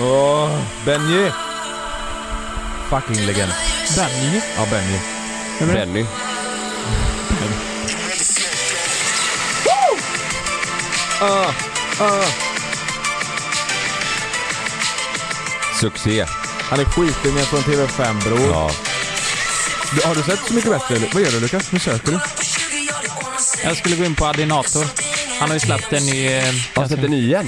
Åh, Benji! Fucking legend. Benny. Ja, Benji. Benny. Succé. Han är skitdummen från TV5 bror. Ja. Du, har du sett Så Mycket Bättre? eller? Vad gör du Lukas? Nu söker du. Jag Jag skulle gå in på Adinator. Han har ju släppt en ny... eh, har sett den igen.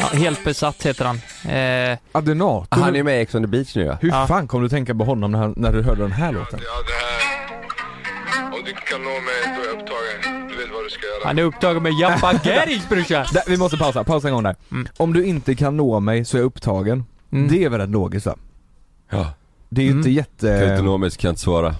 Ja, helt besatt heter han. Eh, Adenator. Han är med i Ex on the beach nu ja. Hur Ja. fan kom du tänka på honom när, när du hörde den här låten? Ja, det här... Om du inte kan nå mig, då är jag upptagen. Du vet vad du ska göra. han är upptagen med Jappa Gerich brorsan. Där, vi måste pausa, pausa en gång där. Mm. Om du inte kan nå mig så är jag upptagen. Mm. Det är väl rätt logiskt va? ja. Det är ju Mm. inte jätte... Kan inte nå mig så kan jag inte svara.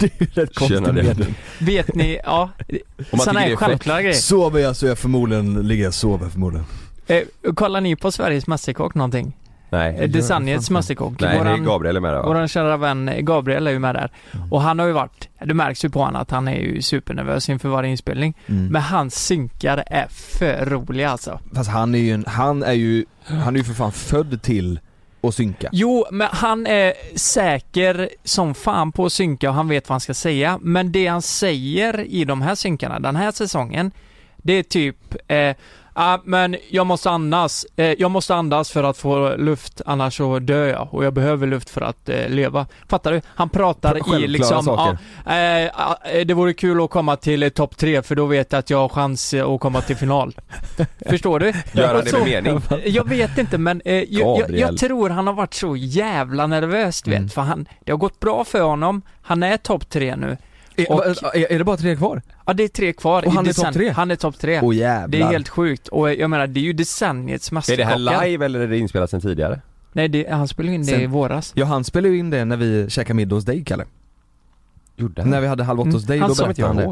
det är ju rätt konstigt Tjena, det. mening. Vet ni, ja. man tycker Sådana det här är självklara grejer. Sover jag så är jag förmodligen, ligger jag och sover förmodligen. Eh, kollar ni på Sveriges Mästerkock någonting? Nej. Eh, Designiets Mästerkock. Nej, det är Våran- Gabriel Mm. är med där va? Vår kära vän eh, Gabriel är ju med där. Och han har ju varit, det märks ju på honom att han är ju supernervös inför varje inspelning. Mm. Men hans synkar är för roliga alltså. Fast han är ju en, han är ju, han är ju för fan född till att synka. Jo, men han är säker som fan på att synka och han vet vad han ska säga. Men det han säger i de här synkarna, den här säsongen, det är typ eh, Ja men jag måste andas, eh, jag måste andas för att få luft annars så dör jag och jag behöver luft för att eh, leva. Fattar du? Han pratar i Självklara liksom, saker. ja, eh, eh, det vore kul att komma till eh, topp tre för då vet jag att jag har chans eh, att komma till final. Förstår du? Gör han Och det så- med mening? jag vet inte men eh, jag, jag, Gabriel. jag tror han har varit så jävla nervös du Mm. vet, för han, det har gått bra för honom, han är topp tre nu. Är, Och- är, är det bara tre kvar? Ja det är tre kvar Och han i är topp decen- tre? Han är topp tre. Åh jävlar. det är helt sjukt och eh, jag menar det är ju decenniets Är det mästerkockar. här live eller är det inspelat sen tidigare? Nej det, han spelade in det Sen- i våras. Ja han spelade ju in det när vi käkade middag hos dig Kalle. Gjorde När vi hade Halv åtta hos Mm, dig, han då sa berättade han det.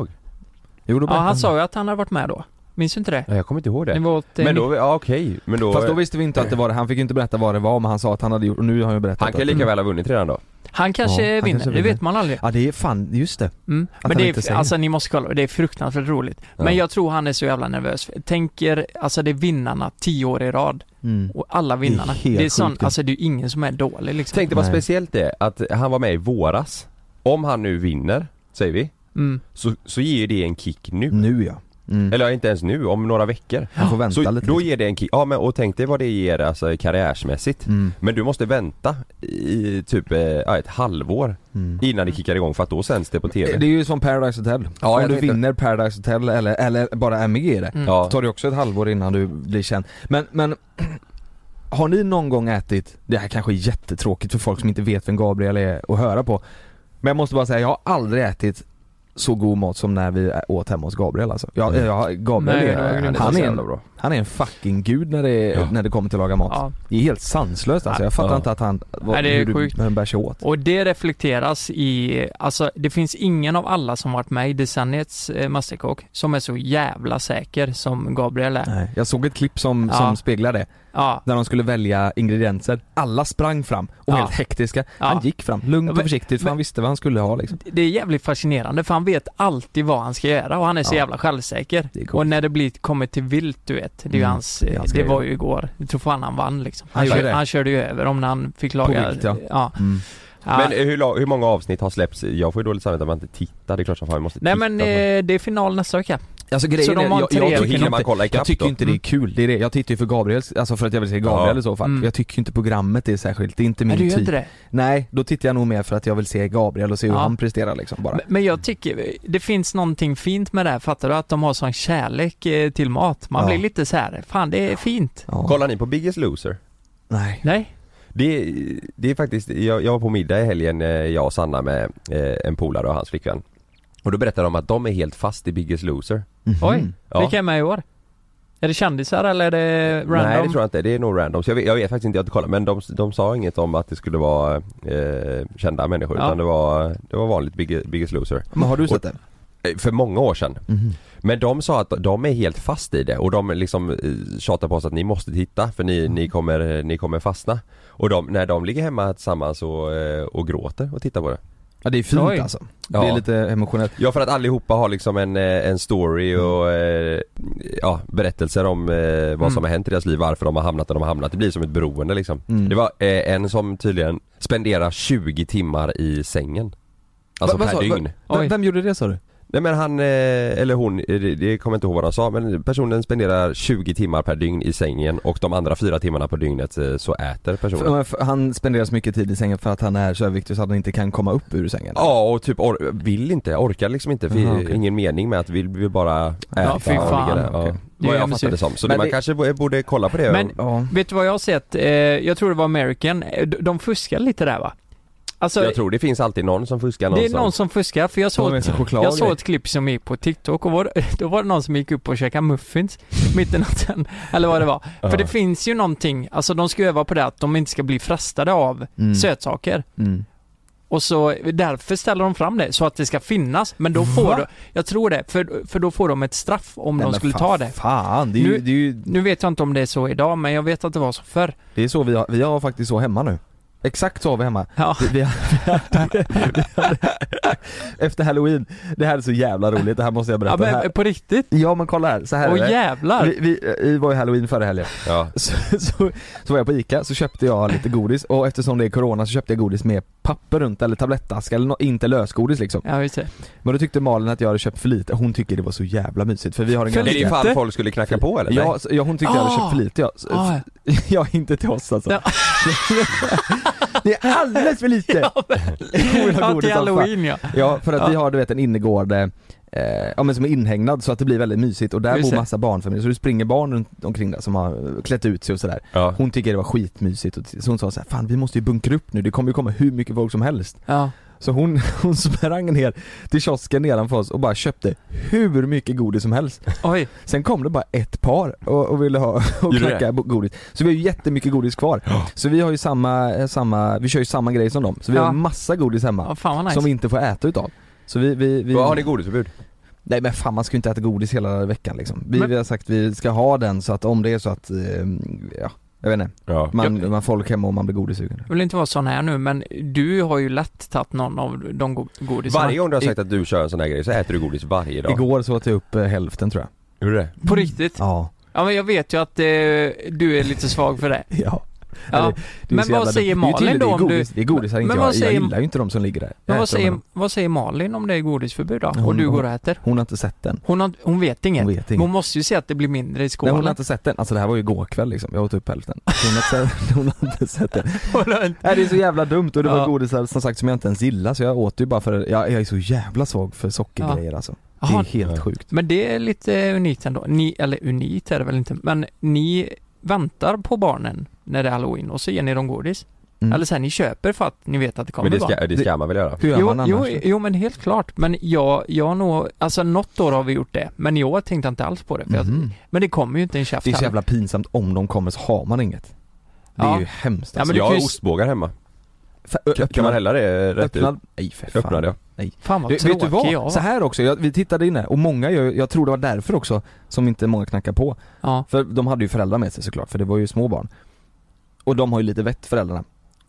Jo, då Ja berättade han sa det. ju att han hade varit med då. Minns du inte det? Nej, jag kommer inte ihåg Ni det. var åt, eh, Men då, ja okej. Men då... Fast då visste vi inte att det var det, han fick ju inte berätta vad det var men han sa att han hade gjort, och nu har han ju berättat Han kan ju att- lika väl ha vunnit redan då. han kanske Ja, han vinner, kanske det vinner. vet man aldrig. Ja det är fan, just det. Mm. han Men det inte är, säger. alltså ni måste kolla, det är fruktansvärt roligt. Ja. Men jag tror han är så jävla nervös. Tänker, alltså det är vinnarna tio år i rad. Mm. Och alla vinnarna. Det är Det helt är, sån, sjukt. alltså det är ju ingen som är dålig liksom. Tänk dig vad Nej. speciellt det är att han var med i våras. Om han nu vinner, säger vi, Mm. så, så ger ju det en kick nu. Nu ja. Mm. Eller ja, inte ens nu, om några veckor. Han får vänta Så lite. då ger det en kick. Ja men och tänk dig vad det ger alltså karriärsmässigt. Mm. Men du måste vänta i typ eh, ja, ett halvår Mm. innan det kickar igång för att då sänds det på TV. Det är ju som Paradise Hotel. E Ja, Om jag du tänkte- vinner Paradise Hotel eller, eller bara är med i E det, Mm. Ja. tar det också ett halvår innan du blir känd. Men, men har ni någon gång ätit, det här kanske är jättetråkigt för folk som inte vet vem Gabriel är att höra på. Men jag måste bara säga, jag har aldrig ätit så god mat som när vi åt hemma hos Gabriel alltså. Jag, jag, Gabriel Nej, det var är, grymt. han, så är jävla en, bra. han är en fucking gud när det, Ja. när det kommer till att laga mat. Ja. Det är helt sanslöst alltså, jag fattar Ja. inte att han, vad, Nej, det är hur, du, sjukt. hur han bär sig åt. Och det reflekteras i, alltså det finns ingen av alla som varit med i decenniets eh, Mästerkock som är så jävla säker som Gabriel är. Nej. Jag såg ett klipp som, Ja. som speglar det. Ja. när de skulle välja ingredienser. Alla sprang fram och Ja. var helt hektiska. Ja. Han gick fram lugnt Ja, och men- försiktigt för men- han visste vad han skulle ha liksom. Det är jävligt fascinerande för han vet alltid vad han ska göra och han är så Ja. jävla självsäker. Det är coolt. Och när det blir, kommer till vilt du vet, det är ju Mm, hans, det är eh, hans det grej. var ju igår. Jag tror fan han vann liksom. Han gjorde körde, det. han körde ju över om när han fick laga. riktigt, ja. ja. Mm. Ja. Men eh, hur, la- hur många avsnitt har släppts? Jag får ju dåligt samvete om jag inte tittar. Det är klart som fan vi måste Nej titta men på det. eh, det är final nästa vecka. Alltså grejen Så de är, har jag, tre- eh, jag, Då tycker hinner man inte, kolla jag ikapp tycker då. inte det är kul. Det är det. Jag tittar ju för Gabriels, alltså för att jag vill se Gabriel Ja. i så fall. Mm. Jag tycker inte programmet är särskilt, det är inte min Nej, du gör typ. inte det. Nej, då tittar jag nog mer för att jag vill se Gabriel och se hur Ja. han presterar liksom bara. Men- Men jag tycker det finns någonting fint med det här, fattar du? Att de har sån kärlek eh, till mat. Man Ja. blir lite så här, fan det är fint. ja. Kollar ni på Biggest Loser? Nej. Nej? Det, det är faktiskt, jag, jag var på middag i helgen, eh, jag och Sanna med eh, en polare och hans flickvän. Och då berättade de att de är helt fast i Biggest Loser. Mm. Oj, Ja. vilka är med i år? Är det kändisar eller är det random? Nej det tror jag inte, det är nog random. Så jag, vet, jag vet faktiskt inte, jag har inte kollat. Men de, de sa inget om att det skulle vara eh, kända människor Ja. utan det var, det var vanligt Bigge- Biggest Loser. Men har du Och- sett det? Eh, För många år sedan. Mhm. Men de sa att de är helt fast i det och de liksom eh, tjatar på oss att ni måste titta för ni, Mm. ni, kommer, eh, ni kommer fastna. Och de, när de ligger hemma tillsammans och, eh, och gråter och tittar på det. Ja det är fint Oj. alltså. Ja. Det är lite emotionellt. Ja för att allihopa har liksom en, eh, en story och eh, ja, berättelser om eh, vad som har hänt i deras liv, varför de har hamnat där de har hamnat. Det blir som ett beroende liksom. Mm. Det var eh, en som tydligen spenderar 20 timmar i sängen. Alltså Va- vad per sa- dygn. va- Oj. Vem gjorde det sa du? Nej men han, eh, eller hon, eh, det det kommer jag inte ihåg vad han sa men personen spenderar 20 timmar per dygn i sängen och de andra fyra timmarna på dygnet eh, så äter personen. För- för- Han spenderar så mycket tid i sängen för att han är så överviktig så att han inte kan komma upp ur sängen. Ja och typ or- vill inte, orkar liksom inte, för Jaha, okej. ingen mening med att vi vill bara äta fy fan. och ligga där. Ja. Okej. Det är Vad jag hemskt. fattar det som. Så Men man det- kanske bo- borde kolla på det. Men- Ja. Vet du vad jag har sett? Eh, jag tror det var American. Eh, d- De fuskar lite där va? Alltså, jag tror det finns alltid någon som fuskar det är någonstans. någon som fuskar för jag såg med sig choklad Jag och såg grejer. ett klipp som gick på TikTok och var, då var det någon som gick upp och käkade muffins mitt i natten, eller vad det var. Ja. För det finns ju någonting, alltså de ska öva på det att de inte ska bli frestade av Mm. sötsaker. Mm. Och så därför ställer de fram det, så att det ska finnas. Men då får Va? du, jag tror det, för, för då får de ett straff om Nej, de men skulle fan, ta det. Fan, det är, ju, Nu- det är ju, Nu vet jag inte om det är så idag, men jag vet att det var så förr. det är så vi har, vi har faktiskt så hemma nu. Exakt så har vi hemma. Ja. Vi, vi, hade, vi hade, efter halloween, det här är så jävla roligt, det här måste jag Ja, berätta. men här, på riktigt? ja men kolla här, så här Åh är det. jävlar! Vi, vi, vi var ju halloween förra helgen, Ja. så, så, så var jag på ICA, så köpte jag lite godis och eftersom det är corona så köpte jag godis med papper runt eller tablettask eller nå- inte lösgodis liksom. Ja, just det. Men då tyckte Malin att jag hade köpt för lite, hon tycker det var så jävla mysigt för vi har en För Är det ganska ifall Inte? folk skulle knacka på eller? Ja, så- ja hon tyckte jag hade köpt för lite ja. Så- Ah, Ja, inte till oss alltså. Ja. det är alldeles för lite! ja, vill ha ja, godis till som fan. halloween ja. Ja, för att Ja. vi har du vet en innergård eh, ja, men som är inhägnad så att det blir väldigt mysigt och där bor Just det. massa barnfamiljer så det springer barn runt omkring där som har eh, klätt ut sig och sådär. Ja. Hon tycker det var skitmysigt och så hon sa så här, fan vi måste ju bunkra upp nu, det kommer ju komma hur mycket folk som helst. ja. Så hon, hon sprang ner till kiosken nedanför oss och bara köpte hur mycket godis som helst. Oj. Sen kom det bara ett par och, och ville ha och Gjorde knacka bo- godis. Så vi har ju jättemycket godis kvar. Så vi har ju samma, eh, samma, vi kör ju samma grej som dem. Så vi Ja. har massa godis hemma Ja, fan vad nice. som vi inte får äta utav. Så vi, vi, vi Vad har ni godisförbud? nej men fan man ska ju inte äta godis hela veckan liksom. Vi, Men- vi har sagt att vi ska ha den så att om det är så att, eh, ja, jag vet inte, Ja. man, man folk hemma och man blir godissugen. Jag vill inte vara sån här nu, men du har ju lätt tagit någon av de go- godisarna. Varje gång du har sagt att du kör en sån här grej så äter du godis varje dag. Igår så åt jag upp eh, hälften tror jag. Hur är det? På riktigt? Ja. Ja, men jag vet ju att eh, du är lite svag för det. Ja. Ja. Det är Men så vad jävla säger dumt. Det är ju Malin tydligt, då det är om du- godis, Det är godis här Men inte vad jag, jag säger- gillar ju inte de som ligger där. Jag Men vad äter dem säger, ändå. vad säger Malin om det är godisförbud då? och Hon- du går och äter? Hon har inte sett den. Hon, har, hon vet inget. Hon vet inget. Men hon måste ju se att det blir mindre i Nej skålen. hon har inte sett den, alltså det här var ju igår kväll liksom, jag åt upp hälften. Så Hon har inte sett, hon har inte sett den. Hon har inte- Nej Äh, det är så jävla dumt och det Ja. var godisar som sagt som jag inte ens gillar så jag åt ju bara för, jag, jag är så jävla svag för sockergrejer alltså. Det är Jaha. helt sjukt. Men det är lite unikt ändå. Ni, eller unikt är det väl inte, men ni väntar på barnen när det är halloween och så ger ni dem godis. Mm. Eller så här, ni köper för att ni vet att det kommer Men det barn. Äh, ska, det ska man väl göra? Hur gör man Jo, annars? jo, jo men helt klart. Men jag, jag har nog, alltså något år har vi gjort det. Men i år tänkte jag inte alls på det. För jag, Mhm. men det kommer ju inte en käft Det är så här. jävla pinsamt om de kommer så har man inget. Det är Ja. ju hemskt Ja, men alltså. du jag kan har ju s- ostbågar hemma. Fa- Kan, kan man hälla det eh, rätt ut? öppnad? Nej för fan. Öppnade jag. Fan vad Du, tråkig vet du vad? jag var. Så här också, jag, vi tittade inne och många gör, jag tror det var därför också som inte många knackar på. Ja. För de hade ju föräldrar med sig såklart, för det var ju små barn. Och de har ju lite vett föräldrarna.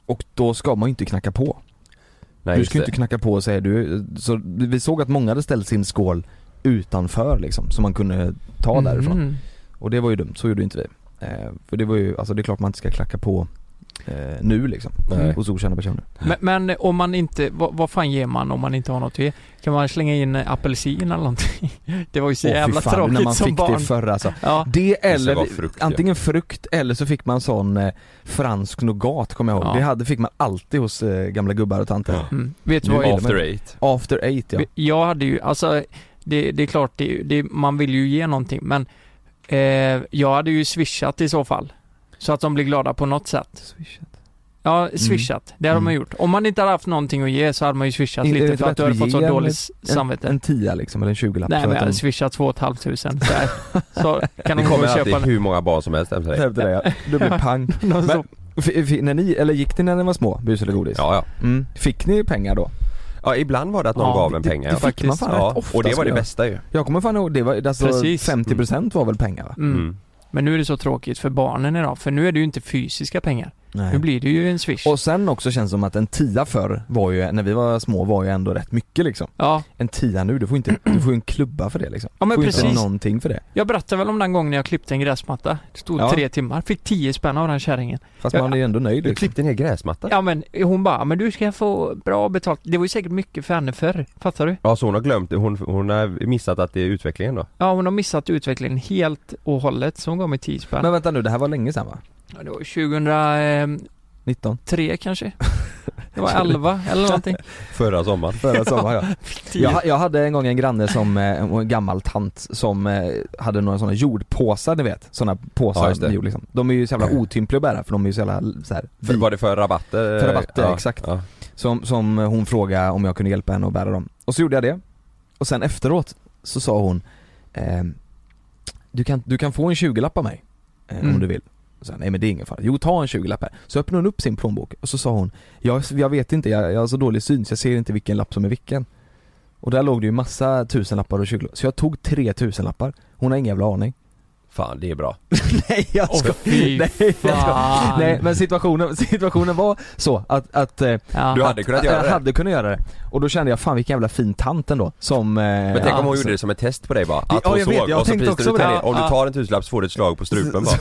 Och då ska man ju inte knacka på. Nej, du just ska ju det. inte knacka på och säga du, så vi såg att många hade ställt sin skål utanför liksom, som man kunde ta därifrån. Mm. Och det var ju dumt, så gjorde inte vi. Eh, för det var ju, alltså det är klart man inte ska knacka på eh, nu liksom. Nej. Hos okända personer. Men, men om man inte, vad, vad fan ger man om man inte har något att ge? Kan man slänga in eh, apelsin eller någonting? Det var ju så Åh, fy jävla fan, när man tråkigt som fick barn. det förr alltså. Ja. Det eller, vara frukt, ja. antingen frukt eller så fick man sån eh, fransk nougat kommer jag ihåg. Ja. Det hade, fick man alltid hos eh, gamla gubbar och tanter. Ja. Mm. Vet du Nu vad jag, After eight. After eight ja. jag hade ju, alltså det, det är klart, det, det, man vill ju ge någonting men eh, jag hade ju swishat i så fall. Så att de blir glada på något sätt. Ja, swishat. Det hade Mm. man gjort. Om man inte hade haft någonting att ge så hade man ju swishat Inte- lite inte för att bättre du hade att fått så ge än dåligt en- samvete. En tia liksom eller en tjugolapp. Nej så men jag att hade de- swishat 2 500 så, här. så kan Det de gå kommer och köpa alltid en hur många barn som helst efter dig. Tävde det ja. Du blev pang. Någon Men- som- F- f- när ni, eller gick ni när ni var små, bus eller godis? Ja, ja. Mm. Fick ni pengar då? ja, ibland var det att någon Ja, gav en det- pengar. det ja. fick man fan ja. rätt ofta, Och det skulle var det jag- Mm. bästa ju. Jag kommer fan ihåg, det var, alltså, Precis. 50% var väl pengar va? Mm. Mm. Men nu är det så tråkigt för barnen idag, för nu är det ju inte fysiska pengar. Nej. Nu blir det ju en swish. Och sen också känns det som att en tia förr var ju, när vi var små var ju ändå rätt mycket liksom. Ja, En tia nu, du får inte, du får ju en klubba för det liksom. Ja, men du får ju precis. inte någonting för det. jag berättade väl om den gången jag klippte en gräsmatta. Det stod Ja. tre timmar, fick tio spänn av den kärringen. Fast Ja. man är ju ändå nöjd Du liksom. klippte ner gräsmattan? Ja men hon bara, men du ska få bra betalt. Det var ju säkert mycket för henne förr, fattar du? Ja, så hon har glömt, hon, hon har missat att det är utvecklingen då? Ja hon har missat utvecklingen helt och hållet, så hon gav mig tio spänn. Men vänta nu, det här var länge sedan va? Ja, det var 2003 19? kanske? Det var 11 eller någonting. Förra sommaren? Förra sommaren ja. jag, jag hade en gång en granne som, eh, en gammal tant som eh, hade några sådana jordpåsar ni vet, sådana Ja, påsar just det. med jord liksom. De är ju så jävla otympliga att bära för de är ju så jävla så här, För, var det för rabatter? För rabatter, ja, exakt. Ja. Som, som hon frågade om jag kunde hjälpa henne att bära dem. Och så gjorde jag det. Och sen efteråt så sa hon ehm, du, kan, du kan få en 20-lapp av mig. Eh, Mm. Om du vill. Och så, Nej men det är ingen fara. Jo ta en 20-lapp här. Så öppnade hon upp sin plånbok och så sa hon Jag, jag vet inte, jag, jag har så dålig syn så jag ser inte vilken lapp som är vilken. Och där låg det ju massa tusenlappar och 20 Så jag tog tre tusenlappar. Hon har ingen jävla aning. Fan, det är Eh, bra. Nej jag Åh skojar. fy Nej, jag skojar. fan. Nej men situationen, situationen var så att, att eh, Ja. Du hade kunnat göra jag det. hade kunnat göra det. Och då kände jag, fan vilken jävla fin tant ändå som... eh, Men tänk om hon Ja, gjorde det som ett test på dig bara? Att alltså- Ja, hon jag vet, jag såg och så tänkte priste också du på till det. det. Om du Ja. tar en tusenlapp så får du ett slag på strupen bara.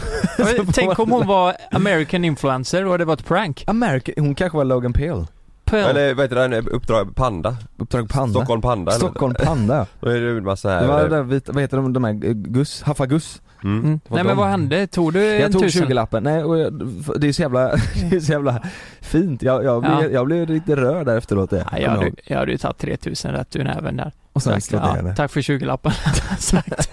Men Tänk om hon var American influencer och det var ett prank. America, hon kanske var Logan Paul. Eller, Eller vad heter den? Uppdrag Panda? Uppdrag Panda. Stockholm Panda eller Stockholm Panda ja. Då är det en massa Det här. var det där vita, vad heter de, de här, eh, Guss, Haffa Guss. Mm. mm. var Nej men de. vad hände? Tog du en Jag tog Eh, tusen? 20-lappen, nej och jag, det är så jävla, det är så jävla fint. Jag, jag, blev, Ja. jag blev lite rörd där efteråt det. Nej, jag, hade, jag hade ju tagit 3000 rätt ur näven där. Och sen Tack, slog jag henne. tack för 20-lappen. Sagt.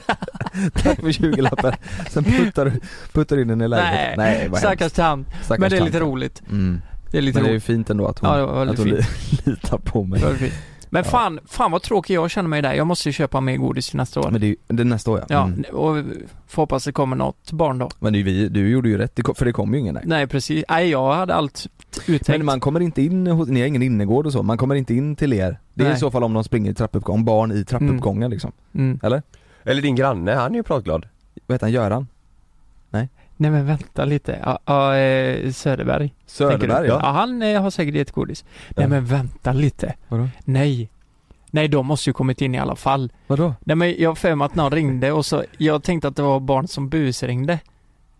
Tack för 20-lappen. Sen puttar du puttar du in den i Nej, lägenheten. Nej, vad stackars hemskt. tant. Stackars Men det är lite tant. roligt. Mm. Det är lite Men det är ju roligt. fint ändå att hon, Ja, det var väldigt att hon li- litar på mig. Det var fint. Men fan, fan vad tråkig jag känner mig där. Jag måste ju köpa mer godis till nästa år. Men det är, ju- det är nästa år ja, Mm. och får hoppas det kommer något barn då. Men det är vi, du gjorde ju rätt, det kom- för det kom ju ingen där. Nej precis, nej jag hade allt uttänkt. Men man kommer inte in, hos- ni har ingen innergård och så, man kommer inte in till er. Det är Nej. i så fall om de springer i trappuppgången, barn i trappuppgången liksom. mm. Eller din granne, han är ju pratglad. Vad heter han, Göran? Nej men vänta lite, ja, ja, eh, Söderberg. tänker du? Söderberg ja. ja. han eh, har säkert gett godis. Nej Ja. men vänta lite. Vadå? Nej. Nej de måste ju kommit in i alla fall. Vadå? Nej men jag har för mig att någon ringde och så, jag tänkte att det var barn som busringde.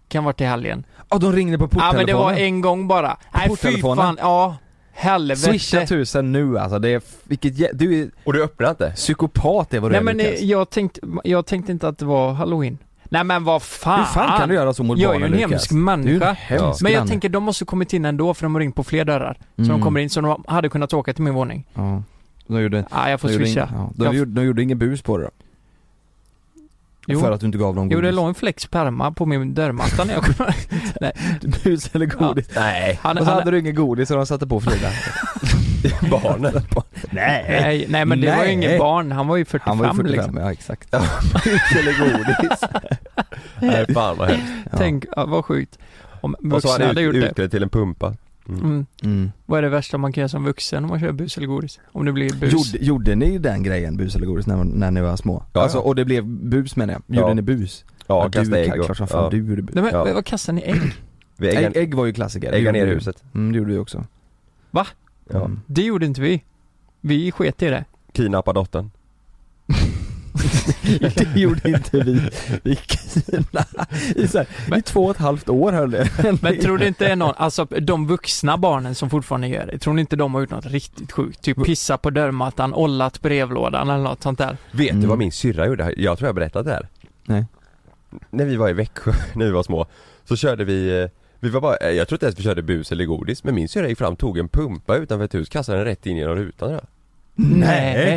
Kan varit i helgen. Ja de ringde på Ja men porttelefonen. det var en gång bara. Nej fy porttelefonen? fan, ja. Helvete. Swisha tusen nu alltså, det är, vilket jä- du är Och du öppnar inte? psykopat är vad du Nej är men eh, Lukas. jag tänkte, jag tänkte inte att det var halloween. Nej men vad fan! Hur fan kan du göra så mot Jag är barnen ju en Lukas? hemsk Du är ju människa. en hemsk Mm. Men jag granne. tänker de måste kommit in ändå för de har ringt på fler dörrar. Så Mm. de kommer in, så de hade kunnat åka till min våning. Ja. De gjorde, Ah, jag får de gjorde, ing, swisha. ja. de, Jag- gjorde, de gjorde ingen bus på det då? Jo. För att du inte gav dem Jo det godis? låg en flex perma på min dörrmatta när jag kom. Bus eller godis? Nej, Han, Och så hade han, du ingen godis och de satte på Frida? barnen. nej, nej men det var ju Nej. ingen barn, han var ju 45, Han var ju 45, liksom. ja exakt. Eller godis. Nej, fan vad hemskt. Ja. Tänk, ja, vad sjukt. Om Och så vuxna hade hade han gjort ut- det. utklädd till en pumpa. Mm. Mm. Vad är det värsta man kan göra som vuxen om man kör bus eller godis? Om det blir bus? Gjorde, gjorde ni den grejen, bus eller godis, när, när ni var små? Ja, alltså, ja. och det blev bus menar jag. Gjorde Ja. ni bus? Ja, du, kasta ägg och... klart som fan, Ja. du gjorde bus. Nej men Ja. vad kastar ni ägg? Vi Ägg, äggar- ägg var ju klassiker. Det äggar gjorde ner vi. huset. Mm, det gjorde vi också. Ja. Mm. Det gjorde inte vi. Vi sket i det. Kidnappa dottern. det gjorde inte vi i Kina. I, så här, i två och ett halvt år höll det. Men tror du inte det är någon, alltså de vuxna barnen som fortfarande gör det, tror ni inte de har gjort något riktigt sjukt? Typ pissa på dörrmattan, ollat brevlådan eller något sånt där. Vet du Mm. vad min syrra gjorde? Jag tror jag har berättat det här. Nej. När vi var i Växjö, när vi var små, så körde vi eh, vi var bara, eh, jag tror inte ens vi körde bus eller godis, men min syrra gick fram, tog en pumpa utanför ett hus, kastade den rätt in genom rutan ja.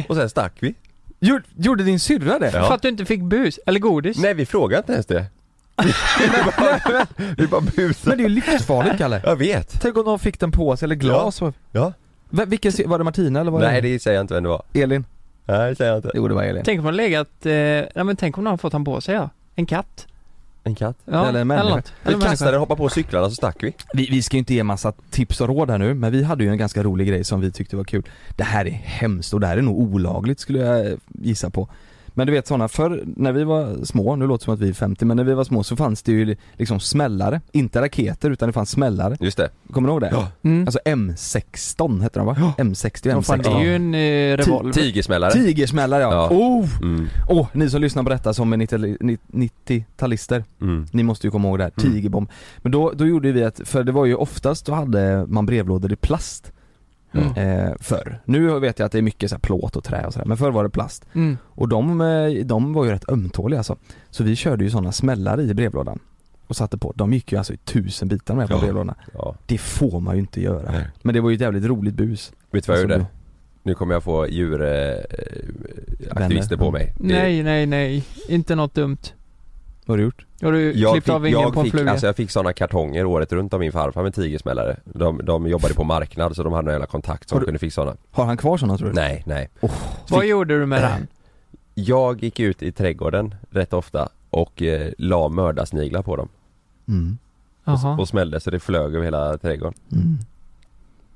Och sen stack vi. Gjorde, gjorde din syrra det? Ja. För att du inte fick bus, eller godis. Nej vi frågade inte ens det. vi bara, vi bara busade. Men det är ju livsfarligt Kalle. Jag vet. Tänk om någon fick den på sig eller glas. Ja. Va- Vilken, sy- var det Martina eller var Nej det säger jag inte vem det var. det Elin? Nej det säger jag inte. Jo det var Elin. Tänk om hon legat, eh, nej men tänk om någon har fått han på sig ja. En katt. En katt. Ja, Eller en människa. något. Vi Eller en kastade människa. den, hoppade på cyklarna så stack vi. Vi, vi ska ju inte ge massa tips och råd här nu, men vi hade ju en ganska rolig grej som vi tyckte var kul. Det här är hemskt och det här är nog olagligt skulle jag eh, gissa på. Men du vet sådana, förr när vi var små, nu låter det som att vi är 50, men när vi var små så fanns det ju liksom smällare. Inte raketer utan det fanns smällare. Just det. Kommer du ihåg det? Ja. Mm. Alltså M16 hette de va? M60 Vad och fan, det är M16. ju en eh, revolver. Tigersmällare. Tigersmällare ja. Ja. Oh! Mm. Åh, ni som lyssnar på detta som är 90- 90-talister, Mm. ni måste ju komma ihåg det här, Mm. tigerbomb. Men då, då gjorde vi att, för det var ju oftast då hade man brevlådor i plast Mm. eh, förr. Nu vet jag att det är mycket så här plåt och trä och sådär, men förr var det plast. Mm. Och de, eh, de var ju rätt ömtåliga alltså. Så vi körde ju sådana smällare i brevlådan och satte på. De gick ju alltså i tusen bitar med på Ja. brevlådorna. Ja. Det får man ju inte göra. Nej. Men det var ju ett jävligt roligt bus. Vet du vad jag Alltså, gjorde? Nu kommer jag få djuraktivister Vänner. på mig. Det- Mm. Nej, nej, nej. Inte något dumt. Vad har du gjort? Har du Eh, Jag klippt fick, av vingen jag, på en fick, fluga? alltså jag fick såna kartonger året runt av min farfar med tigersmällare. De, de jobbade på marknad så de hade någon jävla kontakt som Har du- kunde fixa såna. Har han kvar sådana tror du? Nej, nej. Vad gjorde du med den? Jag gick ut i trädgården rätt ofta och eh, la mördarsniglar på dem. Mm. Jaha. Och smällde så det flög över hela trädgården. Mm.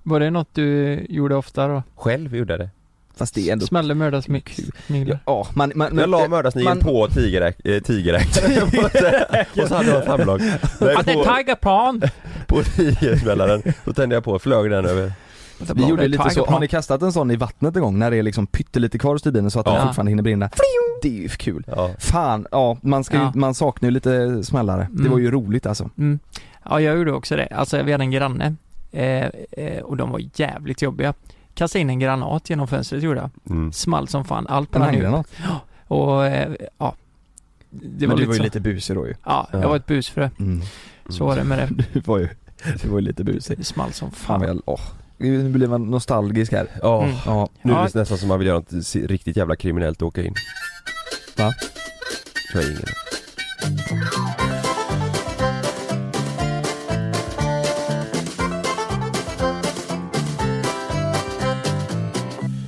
Var det något du gjorde ofta då? Själv gjorde jag det. Fast det är ändå... Smällde mördarsmix? sniglar? Ja, man, man, jag la mördarsnigeln man- på tigeräk, eh, tigeräkten och så hade jag ett famlag. Nej, Att det på- är Tiger Prawn! på tigersmällaren, då tände jag på, flög den över Vi gjorde lite Tiger så, har Prawn. ni kastat en sån i vattnet en gång när det är liksom pyttelite kvar i stubinen så att Ja. den fortfarande hinner brinna? Det är ju kul. Ja, Fan, ja man, ska ju, Ja. man saknar ju lite smällare. Det Mm. var ju roligt alltså. Mm. Ja, jag gjorde också det. Alltså, vi hade en granne. Eh, eh, och de var jävligt jobbiga. Kastade in en granat genom fönstret gjorde jag. mm. Small som fan. Allt En brann upp. handgranat. Och, eh, ja. Det typ Men du var ju så. lite busig då ju. Mm. Ja, jag Ja. var ett busfrö. Så var det med det. Du var ju, du var ju lite busig. Det small som Fan vad fan. jag, åh. Nu blir man nostalgisk här. Ja, Mm. Ja. nu är Ja. det nästan som man vill göra något si- riktigt jävla kriminellt och åka in Va? Tror jag ingen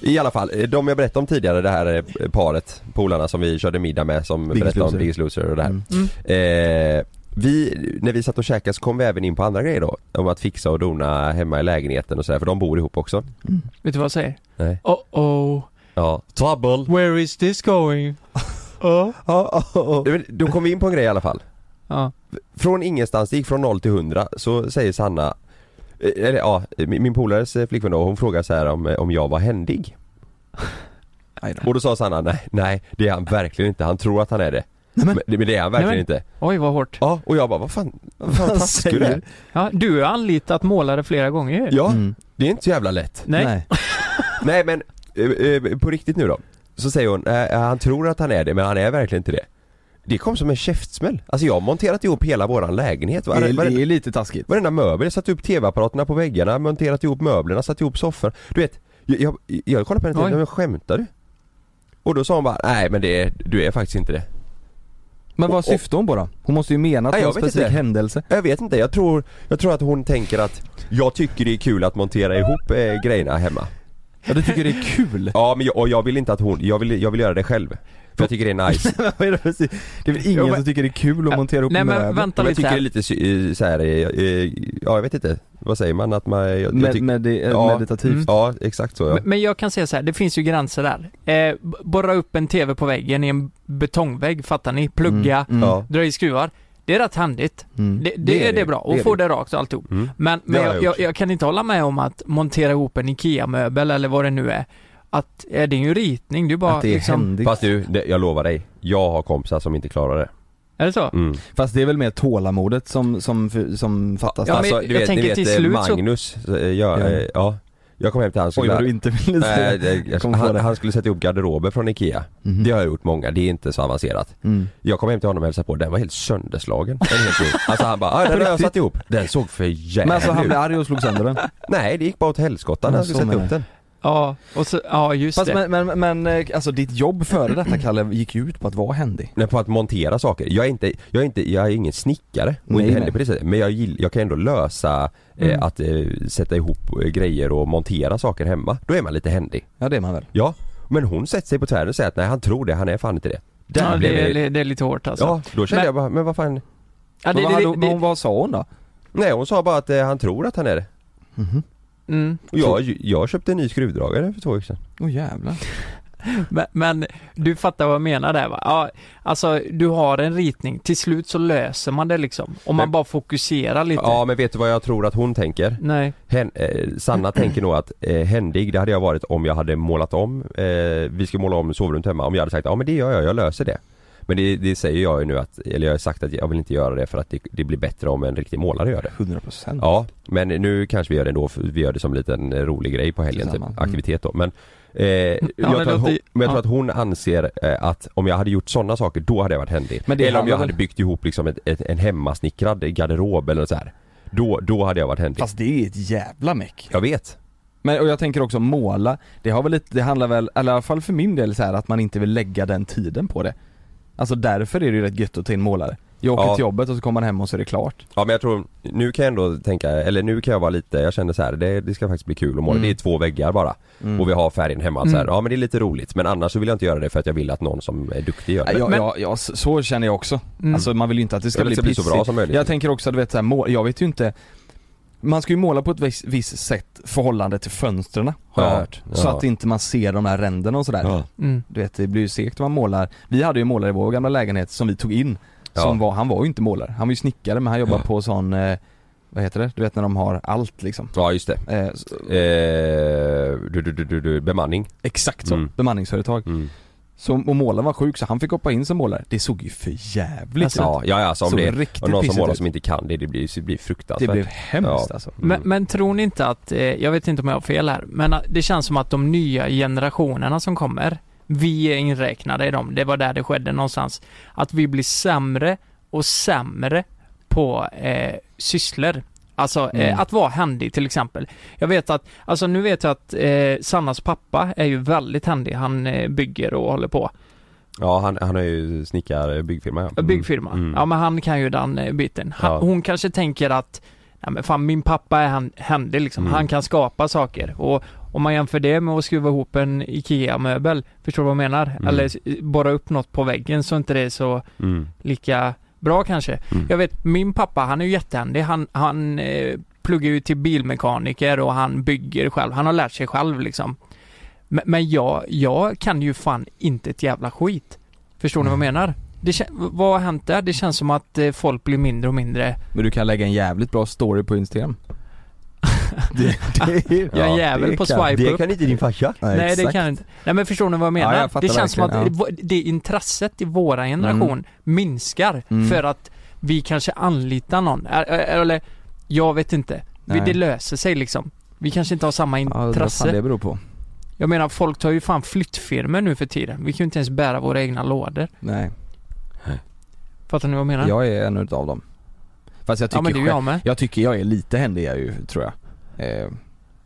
I alla fall, eh, de jag berättade om tidigare, det här eh, paret, polarna som vi körde middag med som Biggest berättade om Loser. Biggest Loser och det här Mm. Mm. Eh, vi, när vi satt och käkade så kom vi även in på andra grejer då. Om att fixa och dona hemma i lägenheten och sådär, för de bor ihop också. Vet du vad jag säger? Nej. Oh oh, Ja. Trouble! where is this going? Oh. Ja, ja, ja. Då kom vi in på en grej i alla fall. Ja. Från ingenstans, det gick från 0 till 100, så säger Sanna eh, eller ja, min min polares eh, flickvän då, hon frågar så här om, eh, om jag var händig. Aj då. Och då sa Sanna nej, nej det är han verkligen inte, han tror att han är det. Nej, men- men, det- men det är han verkligen Nej, inte. Oj, vad hårt. Ja, och jag bara vad fan, vad fan Vad taskig du är. säger Ja, du har anlitat målare flera gånger ju. Ja, Mm. det är inte så jävla lätt. Nej. Nej men, eh, eh, på riktigt nu då. Så säger hon, eh, eh, han tror att han är det men han är verkligen inte det. Det kom som en käftsmäll. Alltså jag har monterat ihop hela våran lägenhet. Det, Var, är, var, det är lite taskigt. varenda möbel, jag satt upp tv-apparaterna på väggarna, monterat ihop möblerna, satt ihop soffor. Du vet, jag, jag, jag kollade på henne och Oj. tänkte, men skämtar du? Och då sa hon bara, nej men det, du är faktiskt inte det. Men vad Och- syftade hon på då? Hon måste ju mena Nej, på jag en vet inte. specifik händelse. Jag vet inte, jag tror, jag tror att hon tänker att jag tycker det är kul att montera ihop eh, grejerna hemma. Ja du tycker det är kul? Ja men jag, och jag vill inte att hon, jag vill, jag vill göra det själv. För jag tycker det är nice. Vad är det för si- Det är väl ingen Jo, men- som tycker det är kul att montera upp Nej, en men möbel? vänta Men jag lite tycker det är här. lite sy- eh, så här, eh, eh, ja jag vet inte, vad säger man att man, jag, jag Med, tyck- med, eh, Ja. meditativt. Mm. ja exakt så ja. Men- Men jag kan säga så här, det finns ju gränser där. Eh, b- borra upp en TV på väggen i en betongvägg, fattar ni? Plugga, Mm. Mm. ja. dra i skruvar. Det är rätt handigt. Mm. Det, det, är det, bra, och är få det rakt och alltihop. Mm. Men, men har jag, jag jag, gjort. jag kan inte hålla med om att montera ihop en IKEA-möbel eller vad det nu är. att eh, det är ju en ritning, det är bara att det är liksom, händigt. Fast, Fast du, det, jag lovar dig. Jag har kompisar som inte klarar det. Är det så? Mm. det är väl mer tålamodet som, som, som fattas? Ja, men alltså, jag tänker till eh, slut så- Magnus, så... ja, Ja. eh, ja. Jag kom hem till han och Oj vad du inte ville säga. Nej, det, jag, kommer få han, det. han skulle sätta ihop garderober från IKEA. Mhm. Det har jag gjort många, det är inte så avancerat. Mm. Jag kom hem till honom och hälsade på, den var helt sönderslagen. Den är helt ny. alltså han bara, "Ah, den har jag riktigt? satt ihop. Den såg för jävligt Men alltså han ut. blev arg och slog sönder den. Nej det gick bara åt helskotta när Ja, jag skulle så sätta menar upp den. Ja, och så, ja just Fast det. men, men, men eh, alltså ditt jobb före detta Kalle gick ju ut på att vara händig. Nej, på att montera saker. Jag är inte, jag är inte, jag är ingen snickare och Nej, inte heller nej. på det sättet. Men jag, gill, jag kan ändå lösa Mm. eh, att eh, sätta ihop eh, grejer och montera saker hemma. Då är man lite händig. Ja det är man väl? Ja, men hon sätter sig på tvären och säger att nej han tror det, han är fan inte det. Där ja, blev det, jag, det, det är lite hårt alltså. ja, då kände Men- jag bara, men vad fan Ja, det, men, vad, det, hade- det, hon, det, vad sa hon då? Nej hon sa bara att eh, han tror att han är det. mm. Och jag, jag köpte en ny skruvdragare för två veckor sedan. Åh jävlar. men, men du fattar vad jag menar där va? Ja, alltså du har en ritning, till slut så löser man det liksom. Om man Men- bara fokuserar lite. Ja men vet du vad jag tror att hon tänker? Nej. Hen, eh, Sanna tänker nog att eh, händig det hade jag varit om jag hade målat om, eh, vi ska måla om sovrummet hemma, om jag hade sagt ja men det gör jag, jag löser det. Men det, det säger jag ju nu att, eller jag har sagt att jag vill inte göra det för att det, det blir bättre om en riktig målare gör det. Mm. 100%. Ja, men nu kanske vi gör det ändå, för vi gör det som en liten eh, rolig grej på helgen, typ, Tillsammans. Mm. aktivitet då. Men, eh, jag, men tror att hon, låter- men jag tror ja. att hon anser eh, att om jag hade gjort sådana saker, då hade jag varit händig. Men det eller om handlar jag hade väl- byggt ihop liksom ett, ett, en hemmasnickrad garderob eller så här. Då, då hade jag varit händig. Fast det är ett jävla meck. Jag vet. Men och jag tänker också måla, det har väl lite, det handlar väl, eller i alla fall för min del så här att man inte vill lägga den tiden på det. Alltså därför är det ju rätt gött att ta in målare. Jag åker Ja. till jobbet och så kommer man hem och så är det klart. Ja men jag tror, nu kan jag ändå tänka, eller nu kan jag vara lite, jag känner så här, det, det ska faktiskt bli kul Mm. att måla. Det är två väggar bara. Och vi har färgen hemma så här, ja men det är lite roligt. Men annars så vill jag inte göra det för att jag vill att någon som är duktig gör det. Jag, men- jag, jag, så- så känner jag också. Alltså man vill ju inte att det ska Jag bli vill att Mm. det ska bli så bra pissigt. som möjligt. Jag tänker också du vet så här, mål, jag vet ju inte man ska ju måla på ett visst, visst sätt förhållande till fönstren har jag Ja, hört. Så ja. att inte man ser de här ränderna och sådär. Ja. Mm. Du vet det blir ju segt om man målar. Vi hade ju målare i vår gamla lägenhet som vi tog in. Som Ja. var, han var ju inte målare, han var ju snickare men han jobbade Ja. på sån, eh, vad heter det? Du vet när de har allt liksom. ja just det. Eh, så, Eh, du, du, du, du, du, bemanning. exakt så, Mm. bemanningsföretag. Mm. Så, och målaren var sjuk så han fick hoppa in som målare. Det såg ju för jävligt Alltså, ut. Ja, ja, ja alltså om Såg det riktigt är någon som pissigt målar ut. som inte kan det, det blir, det blir fruktansvärt. Det blev hemskt Ja. alltså. Men, men tror ni inte att, eh, jag vet inte om jag har fel här, men att det känns som att de nya generationerna som kommer, vi är inräknade i dem, det var där det skedde någonstans, att vi blir sämre och sämre på eh, sysslor. Alltså eh, Mm. att vara händig till exempel. Jag vet att, alltså nu vet jag att eh, Sannas pappa är ju väldigt händig, han eh, bygger och håller på. Ja han, han har ju snickar byggfirma ja. Mm. Byggfirma. Mm. Ja men han kan ju den eh, biten. Han, Ja. Hon kanske tänker att Nej, men fan, min pappa är hän- händig liksom. Mm. Han kan skapa saker. Och om man jämför det med att skruva ihop en IKEA-möbel, förstår du vad jag menar? Mm. Eller s- borra upp något på väggen så inte det är så Mm. lika bra kanske. Mm. Jag vet, min pappa han är ju jättehändig. Han, han eh, pluggar ju till bilmekaniker och han bygger själv. Han har lärt sig själv liksom. Men, men jag, jag kan ju fan inte ett jävla skit. Förstår ni Mm. vad jag menar? Det, kän- vad har hänt där? Det känns som att eh, folk blir mindre och mindre. Men du kan lägga en jävligt bra story på Instagram. det, det är, Jag är en jävel det på kan- swipe Det upp. kan inte din farsa. Nej, Nej det exakt. kan jag inte. Nej men förstår ni vad jag menar? Ja, jag fattar det känns som att verkligen, det, det intresset i våra generation minskar Mm. för att vi kanske anlitar någon. Ä- ä- Eller, jag vet inte. Vi, Nej. det löser sig liksom. Vi kanske inte har samma Ja, vad intresse. fan det beror på. jag menar folk tar ju fan flyttfirmor nu för tiden. Vi kan ju inte ens bära våra egna lådor. Nej, Fattar ni vad jag menar? jag är en utav dem. Fast jag ja tycker men det är själv, jag med. jag tycker jag är lite händig jag är ju, tror jag. Eh,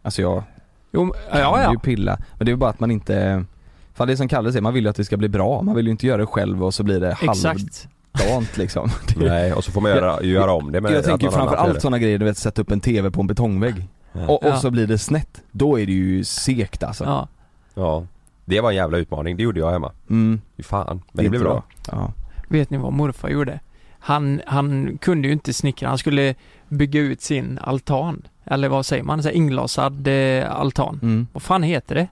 alltså jag Jo, men- ja kan ja. ju pilla. Men det är ju bara att man inte, fan det är som Kalle säger, man vill ju att det ska bli bra. Man vill ju inte göra det själv och så blir det halvdant Exakt. liksom. Det- Nej och så får man göra, göra om det med jag tänker ju att någon annan gör framförallt det. sådana grejer, du vet sätta upp en TV på en betongvägg. Och, och Ja. så blir det snett. Då är det ju segt alltså. Ja. Ja. Det var en jävla utmaning, det gjorde jag hemma. Mm, Fy Fan, men det blev bra. Ja. Vet ni vad morfar gjorde? Han, han kunde ju inte snickra, han skulle bygga ut sin altan. Eller vad säger man? Så här inglasad eh, altan. Mm. Vad fan heter det?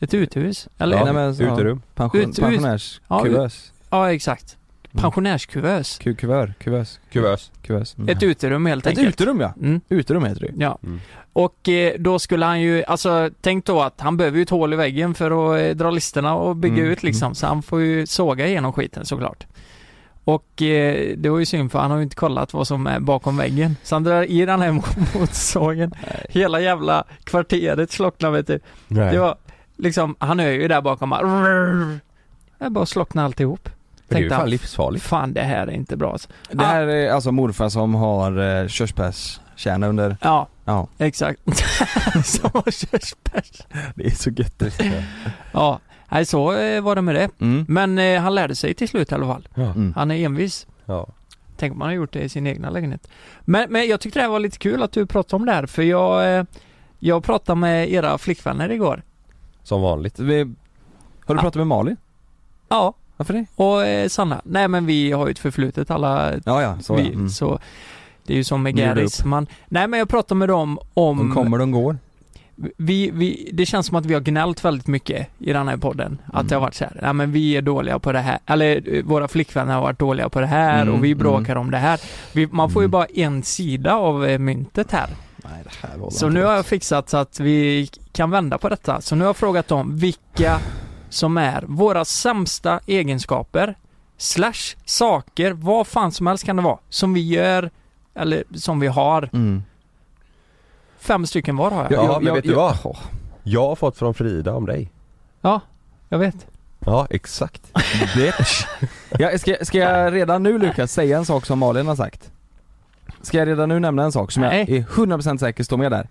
Ett uthus? Eller? Ja, Ja, Nej, men så- Uterum. Pension, Ut- ut- pensionärskuvös. exakt. Pensionärskuvös. Ku- Kuvös, kuvös, Kuvös. kuvös. Mm. Ett uterum helt Ett enkelt. uterum ja. Mm. Uterum heter det ju. Ja. Mm. Och eh, då skulle han ju, alltså tänk då att han behöver ju ett hål i väggen för att eh, dra listerna och bygga Mm, ut liksom. mm. Så han får ju såga igenom skiten såklart. Och eh, det var ju synd för han har ju inte kollat vad som är bakom väggen. Så han drar i den här mot- motorsågen. Hela jävla kvarteret slocknar vet du. Nej. Det var liksom, han är ju där bakom bara, jag bara slocknar alltihop. Men det är ju Tänkte fan han, livsfarligt. fan det här är inte bra alltså. Det här är alltså morfar som har eh, körsbärskärna under, Ja, ja. exakt. Som har körsbärs. Det är så gött. Ja, nej så eh, var det med det. Mm. Men eh, han lärde sig till slut i alla fall. Ja. Mm. Han är envis. Ja. Tänk om han har gjort det i sin egna lägenhet. Men, men jag tyckte det här var lite kul att du pratade om det här för jag, eh, jag pratade med era flickvänner igår. Som vanligt. Vi, har du pratat med Malin? Ja, Varför det? och eh, Sanna. Nej men vi har ju ett förflutet alla Ja, ja, så vi, ja. Mm. så det är ju som med Ni gjorde Garris. Man, nej men jag pratade med dem om... De kommer, de går. vi, vi, det känns som att vi har gnällt väldigt mycket i den här podden. Att Mm. det har varit så här, nej men vi är dåliga på det här, eller eh, våra flickvänner har varit dåliga på det här Mm, och vi bråkar om det här. Vi, man får ju Mm. bara en sida av eh, myntet här. Nej, det här var Så nu har jag fixat så att vi kan vända på detta. Så nu har jag frågat dem vilka som är våra sämsta egenskaper, slash saker, vad fan som helst kan det vara, som vi gör, eller som vi har. Mm. Fem stycken var har jag. Ja, Ja, ja, men ja, vet du ja. vad? Jag har fått från Frida om dig. Ja, jag vet. Ja, exakt. Ja, ska, ska jag redan nu Lukas säga en sak som Malin har sagt? Ska jag redan nu nämna en sak som jag Nej. är 100% säker står med där?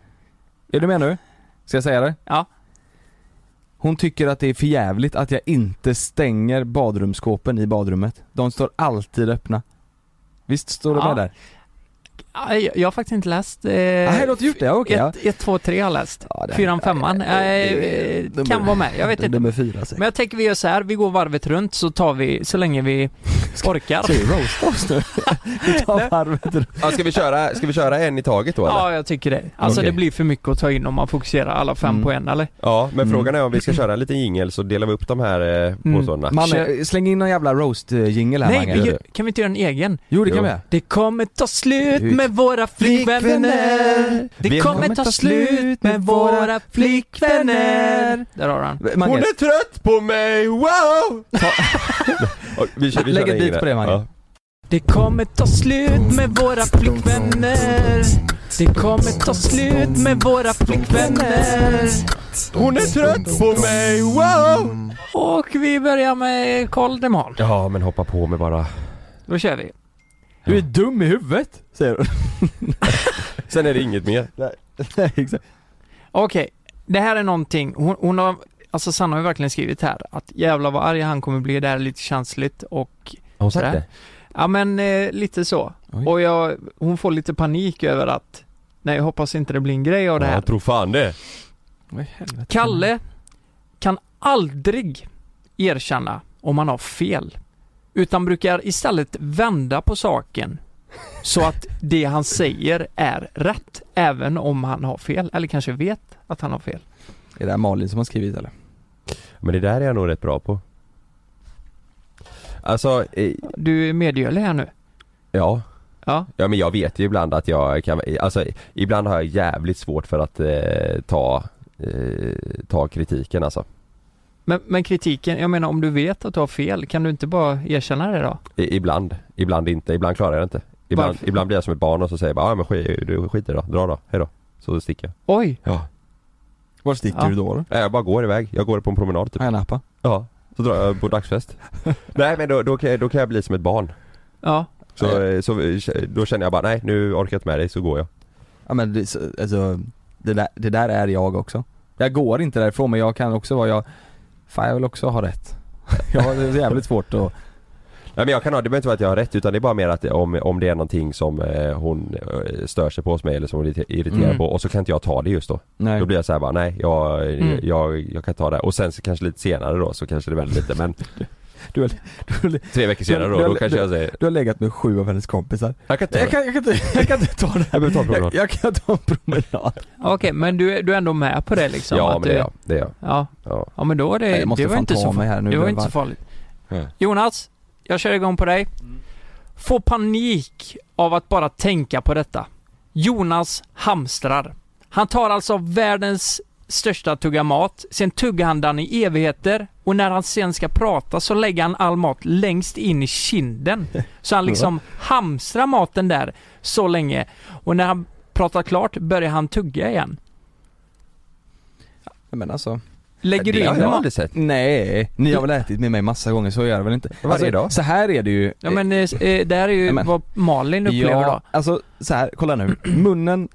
Är du med nu? Ska jag säga det? Ja. Hon tycker att det är för jävligt att jag inte stänger badrumsskåpen i badrummet. De står alltid öppna. Visst står de Ja. med där? Ja, Jag jag har faktiskt inte läst... Eh, Nej, du har inte gjort det? Okej. ja. 1, 2, 3 har jag läst. Ja, det här- Fyran, femman. det- det- Eh, nummer- Kan vara med, jag vet inte. Nummer fyra säkert. Men jag tänker vi gör så här, vi går varvet runt så tar vi så länge vi orkar. Ska vi roasta oss nu? Vi tar varvet runt. Ja, ska, vi köra, ska vi köra en i taget då eller? Ja, jag tycker det. Alltså Okej. det blir för mycket att ta in om man fokuserar alla fem Mm. på en eller? Ja, men Mm. frågan är om vi ska köra en liten jingel så delar vi upp de här eh, påståendena. Man, Kör. eh, släng in någon jävla roast-jingel här Nej, Mange. vi, gör- kan vi inte göra en egen? Jo det kan Jo. vi göra. Det kommer ta slut med våra flickvänner. Det Vi kommer ta slut med våra flickvänner. Där har han. Mange, Hon är trött på mig, wow! Och vi kör, vi Lägg kör ett beat en jingel. på det, Mange. Ja. Det kommer ta slut med våra flickvänner. Det kommer ta slut med våra flickvänner. Hon är trött på mig, wow! Och vi börjar med Karl Demal. Ja, men hoppa på mig bara. Då kör vi. du är dum i huvudet, säger hon. Sen är det inget mer. Nej, exakt. Okej, det här är någonting. Hon, hon har, alltså Sanna har ju verkligen skrivit här att jävla vad arg han kommer bli. Det här är lite känsligt och Har hon sagt det? ja men eh, lite så. Oj. Och jag, hon får lite panik över att nej jag hoppas inte det blir en grej av det Ja, här. jag tror fan det. Mm. Kalle kan aldrig erkänna om han har fel. Utan brukar istället vända på saken. Så att det han säger är rätt, även om han har fel. Eller kanske vet att han har fel. Är det här Malin som har skrivit eller? Men det där är jag nog rätt bra på. Alltså, eh, Du är medgörlig här nu. ja. Ja. Ja men jag vet ju ibland att jag kan, alltså ibland har jag jävligt svårt för att eh, ta, eh, ta kritiken alltså. Men, men kritiken, jag menar om du vet att du har fel, kan du inte bara erkänna det då? I, ibland, ibland inte, ibland klarar jag det inte. Ibland, Varför? ibland blir jag som ett barn och så säger jag bara, ja men skit, du skiter då, dra då, hejdå. Så sticker jag. Oj! Ja. Var sticker Ja. du då? då? Nej, Jag bara går iväg, jag går på en promenad typ. Har jag en appa? Ja. Så drar jag på dagsfest. nej men då, då, kan jag, då kan jag bli som ett barn. Ja. Så, Ja. eh, så eh, då känner jag bara, nej nu orkar jag inte med dig, så går jag. Ja men det, så- alltså, det där, det där är jag också. Jag går inte därifrån men jag kan också vara jag, fan jag vill också ha rätt. Jag har det är jävligt svårt att, Nej men jag kan ha, det behöver inte vara att jag har rätt utan det är bara mer att om, om det är någonting som eh, hon eh, stör sig på hos mig eller som hon är irriterad Mm. på och så kan inte jag ta det just då. nej. Då blir jag så här bara nej jag, eh, Mm. jag, jag kan ta det och sen så kanske lite senare då så kanske det vänder lite men Du, har- tre veckor senare då, då kanske jag säger du har legat med sju av hennes kompisar. jag kan ta Jag det. kan, jag kan, inte, jag kan inte ta det här. Jag behöver ta en promenad. Jag, jag kan ta en promenad. Okej, men du, är- du är ändå med på det liksom? Ja att men det du, är jag, det är jag. ja. Ja. Ja men då är det, Nej, jag måste det var fan inte ta så mig här nu. Det var Det inte var- så farligt. Nej. Jonas, jag kör igång på dig. Får panik av att bara tänka på detta. Jonas hamstrar. Han tar alltså världens största tugga mat, sen tuggar han den i evigheter och när han sen ska prata så lägger han all mat längst in i kinden. Så han liksom hamstrar maten där så länge och när han pratar klart börjar han tugga igen. Men alltså. Lägger du det har in jag mat? aldrig sett. Nej, ni har väl ätit med mig massa gånger så gör jag väl inte. Alltså, Varje dag. Så här är det ju. Ja men eh, eh, det här är ju Amen. vad Malin upplever då. alltså så här, kolla nu. Munnen,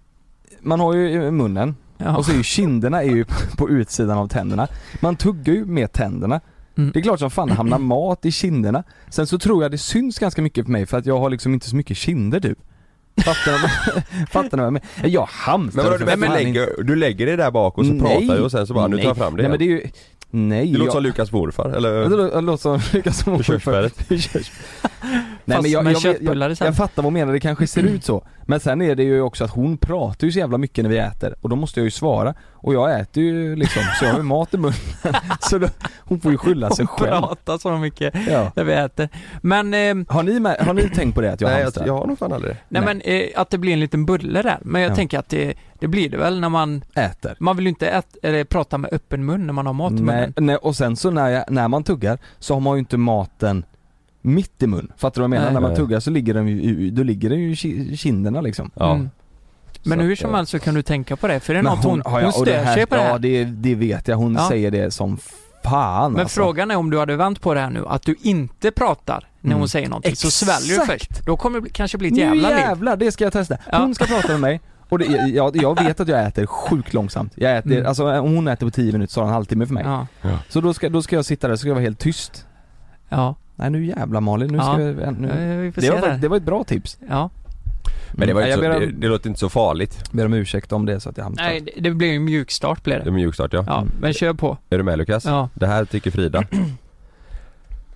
man har ju i munnen Ja. och så är ju kinderna är ju på utsidan av tänderna. Man tuggar ju med tänderna. Mm. Det är klart som fan det hamnar mat i kinderna. Sen så tror jag det syns ganska mycket på mig för att jag har liksom inte så mycket kinder du. Fattar du? Fattar du? Men jag hamstrar Men vadå, för du, fan men inte. lägger, du lägger det där bak och så pratar du och sen så bara, nu tar jag fram det Nej men det är igen. ju, nej. Det låter jag- som Lukas morfar, Ja, eller? Det lå- det låter som Lukas som körsbäret. Nej men jag, med jag, vet- köttbullar jag, sen. jag fattar vad hon menar, det kanske ser ut så. Men sen är det ju också att hon pratar ju så jävla mycket när vi äter och då måste jag ju svara. Och jag äter ju liksom, så jag har ju mat i munnen. Så då, hon får ju skylla sig Hon själv. pratar så mycket Ja. när vi äter. Men, eh, nej, Har, ni med, har ni tänkt på det att jag Nej, jag, hamstrar? jag har nog fan aldrig det. men eh, att det blir en liten bulle där. Men jag Ja. tänker att det, det blir det väl när man, Äter. man vill ju inte ät, eller prata med öppen mun när man har mat i Nej, munnen. nej, och sen så när, jag, när man tuggar så har man ju inte maten mitt i mun. Fattar du vad jag menar? Nej. När man Nej. tuggar så ligger den ju, i- då ligger den ju i ki- kinderna liksom. Ja. Mm. Men Så hur att, som eh, helst så kan du tänka på det, för det är Men något hon, har hon, jag- och stör här- sig på det Ja här. det, det vet jag, hon Ja. säger det som fan Men alltså. frågan är om du hade vänt på det här nu, att du inte pratar när Mm. hon säger någonting, så Exakt. sväljer du först. Då kommer det bli- kanske bli ett Nu jävla liv. jävlar, det ska jag testa. Ja. Hon ska prata med mig och det, jag, jag vet att jag äter sjukt långsamt. Jag äter, Mm. alltså om hon äter på 10 minuter så har hon en halvtimme för mig. Ja. Så då ska, då ska jag sitta där, så ska jag vara helt tyst. ja. Nej nu jävlar Malin, nu Ja. ska jag, nu. Eh, Vi får Det, se var, det. faktiskt- här. det var ett bra tips. Ja. Men det, var ju jag inte ber, så, det, om, det låter inte så farligt. ber om ursäkt om det är så att jag hamstrar. Nej, det, det blir ju en mjukstart blir Det är det. mjukstart ja. Ja, men kör på. Är du med Lukas? Ja. Det här tycker Frida.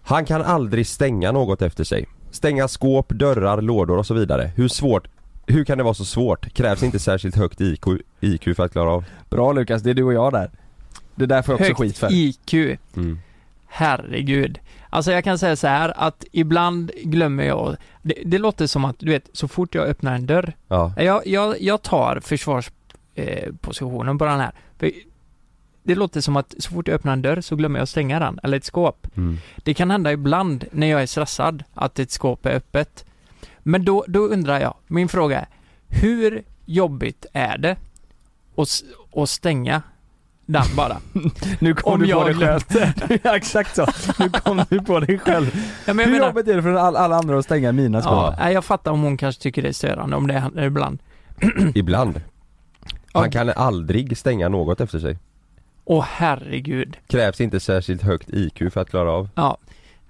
Han kan aldrig stänga något efter sig. Stänga skåp, dörrar, lådor och så vidare. Hur svårt hur kan det vara så svårt? Krävs inte särskilt högt IQ, IQ för att klara av? Bra Lukas, det är du och jag där. Det där får jag också skit för. IQ. Mm. Herregud. Alltså jag kan säga så här att ibland glömmer jag, det, det låter som att du vet, så fort jag öppnar en dörr, Ja. jag, jag, jag tar försvarspositionen eh, positionen på den här. För det låter som att så fort jag öppnar en dörr så glömmer jag stänga den, eller ett skåp. Mm. Det kan hända ibland när jag är stressad att ett skåp är öppet. Men då, då undrar jag, min fråga är, hur jobbigt är det att, s- att stänga den bara? Nu kom Om du på jag dig själv. Ja, Exakt så. Nu kom du på dig själv. Ja, men jag Hur menar- jobbigt är det för alla, alla andra att stänga mina skåp? Ja, nej, jag fattar om hon kanske tycker det är störande om det händer ibland. Ibland. Ja. Han kan aldrig stänga något efter sig. Åh herregud. Krävs inte särskilt högt IQ för att klara av.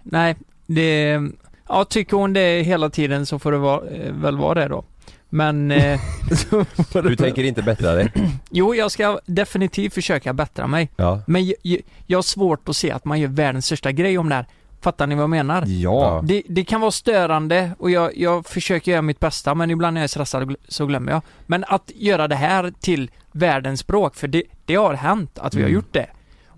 Nej, det... Ja, tycker hon det hela tiden så får det vara, eh, väl vara det då. Men eh, Du tänker inte bättra dig? jo, jag ska definitivt försöka bättra mig. Ja. Men jag, jag, jag har svårt att se att man gör världens största grej om det här. Fattar ni vad jag menar? Ja. Det, det kan vara störande och jag, jag försöker göra mitt bästa men ibland när jag är stressad gl- så glömmer jag. Men att göra det här till världens språk, för det, det har hänt att vi har Mm. gjort det.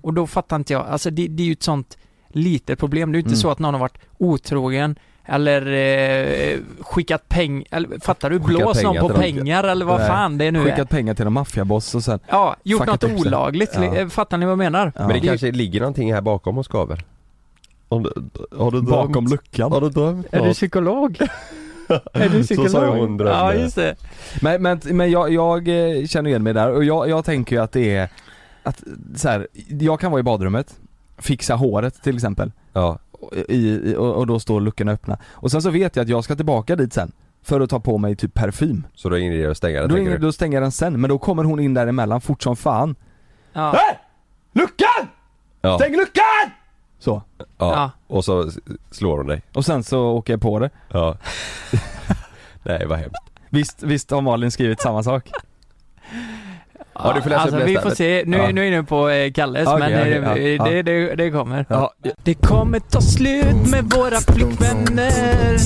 Och då fattar inte jag, alltså det, det är ju ett sånt litet problem. Det är ju inte Mm. så att någon har varit otrogen eller eh, skickat pengar, eller fattar du? Skickat Blåst någon pengar på till dem. pengar eller vad Nej. fan det nu är. Skickat pengar till en maffiaboss och sen Ja, gjort Fuckat upp något sig. olagligt. Ja. Eh, Fattar ni vad jag menar? Ja. Men det Det- kanske ligger någonting här bakom hos skaver? Om du, har du drömt? bakom luckan. Har du drömt Är du något? psykolog? är du psykolog? sa ju hon drömde. Ja, just det. Men, men, men jag, jag eh, känner igen mig där och jag, jag tänker ju att det är att så här, jag kan vara i badrummet, fixa håret till exempel Ja. och- i, i- och, och då står luckorna öppna. Och sen så vet jag att jag ska tillbaka dit sen för att ta på mig typ parfym. Så då är det att stänga den Då, tänker in, du? då stänger jag den sen men då kommer hon in däremellan fort som fan. Ja. Luckan! Ja. luckan! Så. Ja. Ja. Och så s- slår hon dig. Och sen så åker jag på det. Ja. Nej vad hemskt. Visst, visst har Malin skrivit samma sak? Ja, du får läsa upp alltså, nästa. vi får se. Nu, Ja. nu är jag inne på eh, Kalles, Okej, men eh, okej, ja, det, ja. Det, det kommer. Ja. Det kommer ta slut med våra flickvänner.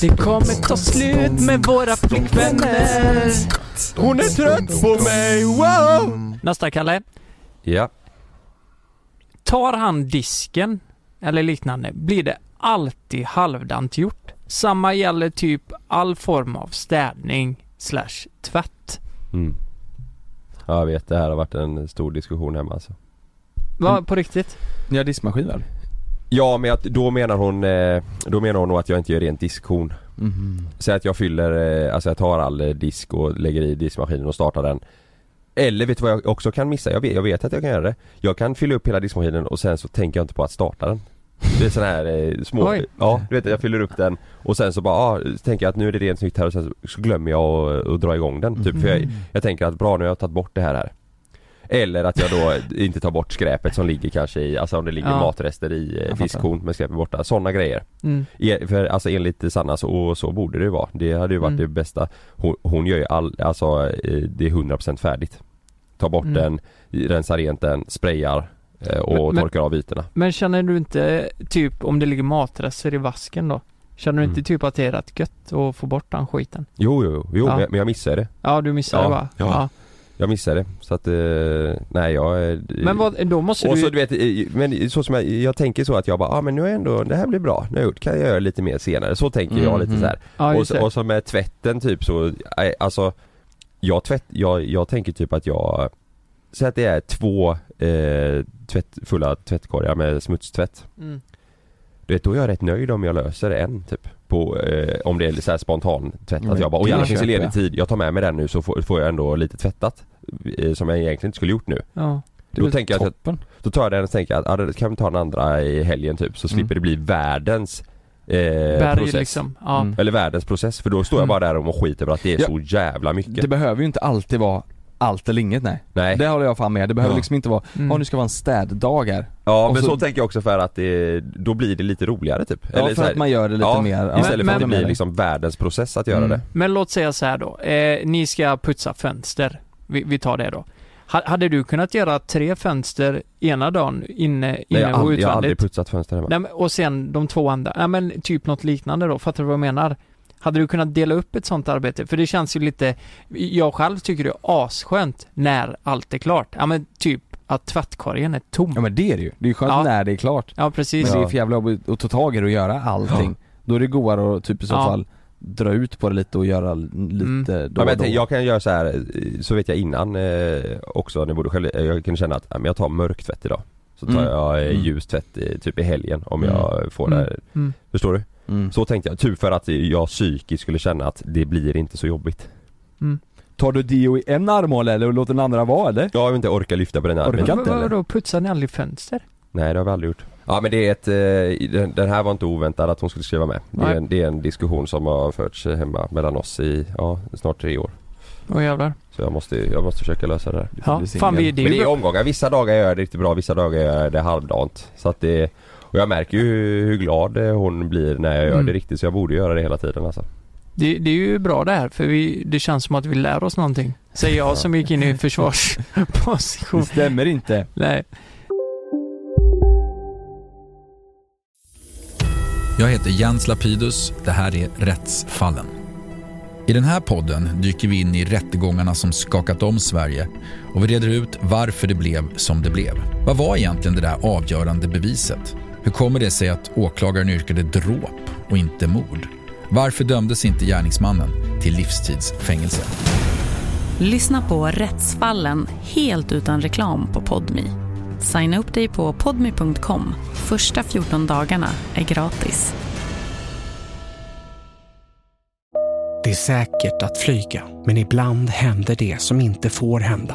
Det kommer ta slut med våra flickvänner. Hon är trött på mig, wow! Nästa Kalle. Ja. Tar han disken eller liknande blir det alltid halvdant gjort. Samma gäller typ all form av städning slash tvätt. Mm. Ja jag vet, det här har varit en stor diskussion hemma alltså. Va, på riktigt? Ni har diskmaskin väl? Ja men att, då menar hon, eh, då menar hon nog att jag inte gör rent diskhon. Mhm. Så att jag fyller, eh, alltså jag tar all eh, disk och lägger i diskmaskinen och startar den. Eller vet du vad jag också kan missa? Jag vet, jag vet att jag kan göra det. Jag kan fylla upp hela diskmaskinen och sen så tänker jag inte på att starta den. Det är sån här eh, små, Oj. ja du vet jag fyller upp den och sen så bara, ah, så tänker jag att nu är det rent snyggt här och sen så- så glömmer jag att, att dra igång den typ. För Mhm. jag, Mm. jag tänker att bra nu har jag tagit bort det här här. Eller att jag då inte tar bort skräpet som ligger kanske i, alltså om det ligger Ja. matrester i eh, fattar. fiskhorn med skräpet borta, sådana grejer. Mm. E- För alltså enligt Sanna så, och så borde det ju vara. Det hade ju varit Mm. det bästa. Hon, hon gör ju all, alltså eh, det är 100% färdigt. Tar bort Mm. den, rensar rent den, sprayar eh, och Men- men- torkar av ytorna. Men känner du inte typ om det ligger matrester i vasken då? Känner du Mm. inte typ att det är rätt gött att få bort den skiten? Jo, jo, jo, Ja. men jag- men jag missar det. Ja, du missar Ja, det va? ja. Jag missar det. Så att, eh, nej jag... eh, Men vad, då måste och du... så du vet, eh, men så som jag, jag tänker så att jag bara, ah, men nu är jag ändå, det här blir bra, nu har jag gjort, kan jag göra lite mer senare, så tänker jag Mm, lite mm. så här. ja, och, just det. så, och så med tvätten typ så, nej, alltså jag, tvätt, jag, jag tänker typ att jag Säg att det är två eh, tvätt, fulla tvättkorgar med smutstvätt Mm. Du vet, då är jag rätt nöjd om jag löser en typ på, eh, om det är så här spontan tvätt Men att jag bara, och det gärna finns köper det ledig jag." tid, jag tar med mig den nu så får, får jag ändå lite tvättat eh, Som jag egentligen inte skulle gjort nu Ja. Det är Då väl tänker jag att jag- toppen. Då tar jag den och tänker att, ah, då kan vi ta den andra i helgen typ, så slipper Mm. det bli världens eh, Berg process liksom. Ja. Mm. eller världens process för då står jag Mm. bara där och mår skit över att det är Ja. så jävla mycket Det behöver ju inte alltid vara allt eller inget nej. Nej, Det håller jag fan med. Det behöver Ja. liksom inte vara, Mm. ja nu ska vara en städdag här. ja och men så, så- tänker jag också för att det, då blir det lite roligare typ Ja, så för här, att man gör det lite ja, mer. Ja, Mm. Istället för men- att det men- blir liksom världens process att göra Mm. det Men låt säga så här då. Eh, ni ska putsa fönster. Vi, vi tar det då. Ha- Hade du kunnat göra tre fönster ena dagen inne, Nej, inne jag, har och aldrig, jag har aldrig utvändigt? putsat fönster hemma Nej, men- och sen de två andra. Nej, men typ något liknande då. Fattar du vad jag menar? Hade du kunnat dela upp ett sånt arbete? För det känns ju lite, jag själv tycker det är asskönt när allt är klart. Ja men typ att tvättkorgen är tom. Ja men det är det ju. Det är ju skönt Ja. när det är klart. Ja Men precis. det är för jävla jobbigt att ta tag i det och göra allting. Då är det godare att typ i så Ja. fall dra ut på det lite och göra l- Mm. lite då Ja, men och då. jag, tänker, jag kan göra så här eh, så vet jag innan eh, också, ni borde själv, eh, jag kan känna att ja, men jag tar mörk tvätt idag Så tar Mm. jag eh, Mm. ljus tvätt eh, typ i helgen om Mm. jag får Mm. det Mm. Förstår du? Mm. Så tänkte jag, typ för att jag psykiskt skulle känna att det blir inte så jobbigt Tar du Dio i en armhåla eller och låter den andra vara eller? Jag vill inte orka lyfta på den här Orkar men- inte, Vad- vad- eller? Vadå, putsar ni aldrig fönster? Nej det har vi aldrig gjort. Ja men det är ett, eh, den, den här var inte oväntad att hon skulle skriva med. Det är, Nej. en, det är en diskussion som har förts hemma mellan oss i, ja, snart tre år. Åh jävlar. Så jag måste, jag måste försöka lösa det här. Ja, bli singel. fan vi, det är Men ju det är bra. omgångar, vissa dagar gör jag det riktigt bra, vissa dagar gör jag det halvdant. Så att det, och jag märker ju hur, hur glad eh, hon blir när jag gör Mm. det riktigt så jag borde göra det hela tiden alltså. Det, det är ju bra det här, för vi, det känns som att vi lär oss någonting. Säger jag som gick in i Det försvarsposition. stämmer inte. Nej. Jag heter Jens Lapidus. Det här är Rättsfallen. I den här podden dyker vi in i rättegångarna som skakat om Sverige och vi reder ut varför det blev som det blev. Vad var egentligen det där avgörande beviset? Hur kommer det sig att åklagaren yrkade dråp och inte mord? Varför dömdes inte gärningsmannen till livstidsfängelse? Lyssna på Rättsfallen helt utan reklam på Podmi. Signa upp dig på podmi.com. Första 14 dagarna är gratis. Det är säkert att flyga, men ibland händer det som inte får hända.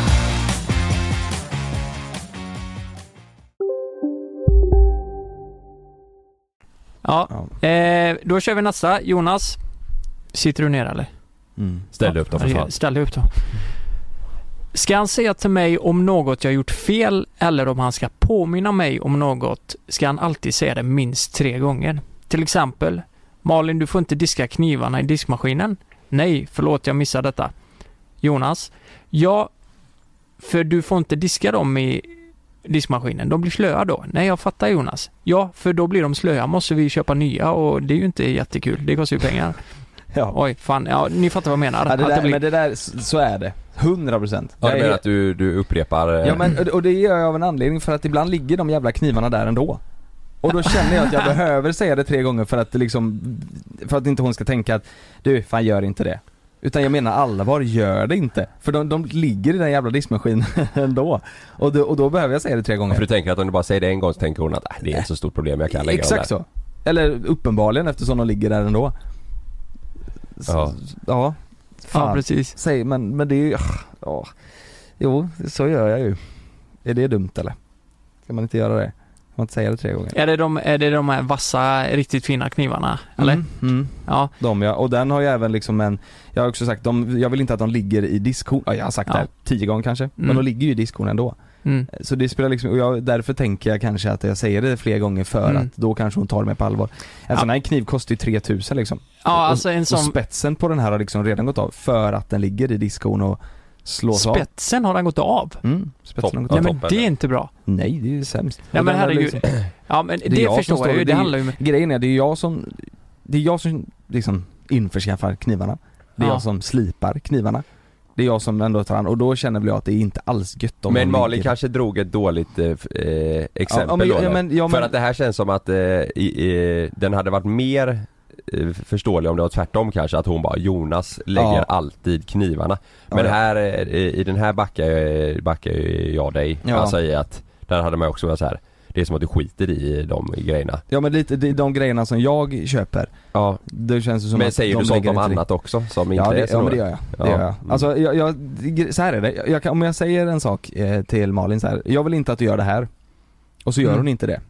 Ja, Eh, då kör vi nästa. Jonas, sitter du ner eller? mm. Ställ dig upp då för fan. Ställ dig upp då. Ska han säga till mig om något jag gjort fel eller om han ska påminna mig om något ska han alltid säga det minst tre gånger. Till exempel Malin, du får inte diska knivarna i diskmaskinen. Nej, förlåt jag missade detta. Jonas, ja, för du får inte diska dem i diskmaskinen. De blir slöa då. Nej, jag fattar Jonas. Ja, för då blir de slöa. Måste vi köpa nya och det är ju inte jättekul. Det kostar ju pengar. Ja. Oj, fan. Ja, ni fattar vad jag menar. Ja, det Att där, det blir- Men det där, s- så är det. 100 procent. Ja, du menar att du, du upprepar... eh, Ja men, och- och det gör jag av en anledning för att ibland ligger de jävla knivarna där ändå. Och då känner jag att jag behöver säga det tre gånger för att det liksom, för att inte hon ska tänka att du, fan gör inte det. Utan jag menar allvar, gör det inte. För de, de ligger i den jävla diskmaskinen ändå. Och då, och då behöver jag säga det tre gånger. För du tänker att om du bara säger det en gång så tänker hon att "Ah, det är inte så stort problem, jag kan lägga Exakt dem så. Eller uppenbarligen eftersom de ligger där ändå. där. Ja. Ja, Ja, precis. Säg, men, men det är ju, ah, ja. Jo, så gör jag ju. Är det dumt eller? Ska man inte göra det? Ska man inte säga det tre gånger? Är det de, är det de här vassa, riktigt fina knivarna? Eller? Mm, mm. Ja. De ja, och den har ju även liksom en, jag har också sagt, de, jag vill inte att de ligger i diskhon, ja, jag har sagt det här tio gånger kanske, men Mm. de ligger ju i diskhon ändå. Mm. Så det spelar liksom, och jag, därför tänker jag kanske att jag säger det fler gånger för Mm. att då kanske hon tar mig på allvar. En sån här kniv kostar ju 3000 liksom. Ja, alltså och, en sån- och spetsen på den här har liksom redan gått av för att den ligger i diskhon och slås av. Spetsen har den gått av? Mm, spetsen har gått Nej av. men det är inte bra. Nej, det är ju sämst. Nej, Och men den är herregud. Ja, men det är jag som förstår står- jag ju. Det är handlar ju om- Grejen är, det är jag som, det är jag som liksom införskaffar knivarna. Det är Ja. jag som slipar knivarna. Det är jag som ändå tar hand och då känner väl jag att det är inte alls gött om Men de Malin ligger- kanske drog ett dåligt eh, f- eh, exempel Ja, men- då, ja, eller? men- ja, men- För att det här känns som att eh, i, eh, den hade varit mer eh, förståelig om det var tvärtom kanske, att hon bara Jonas lägger Ja. alltid knivarna. Men ja. här, eh, i den här backar, jag- eh, backar ju jag dig. Ja. Alltså i att, där hade man ju också varit så här. det är som att du skiter i de grejerna. Ja men lite, det är de grejerna som jag köper. Ja. Det känns ju som Men att säger de du sånt lägger om inte annat riktigt- också som inte ja, det, är så Ja men det roligt? gör jag. Det gör jag. Alltså jag, jag, det- så här är det. Jag, jag kan, om jag säger en sak eh, till Malin så här. jag vill inte att du gör det här. Och så gör Mm. hon inte det.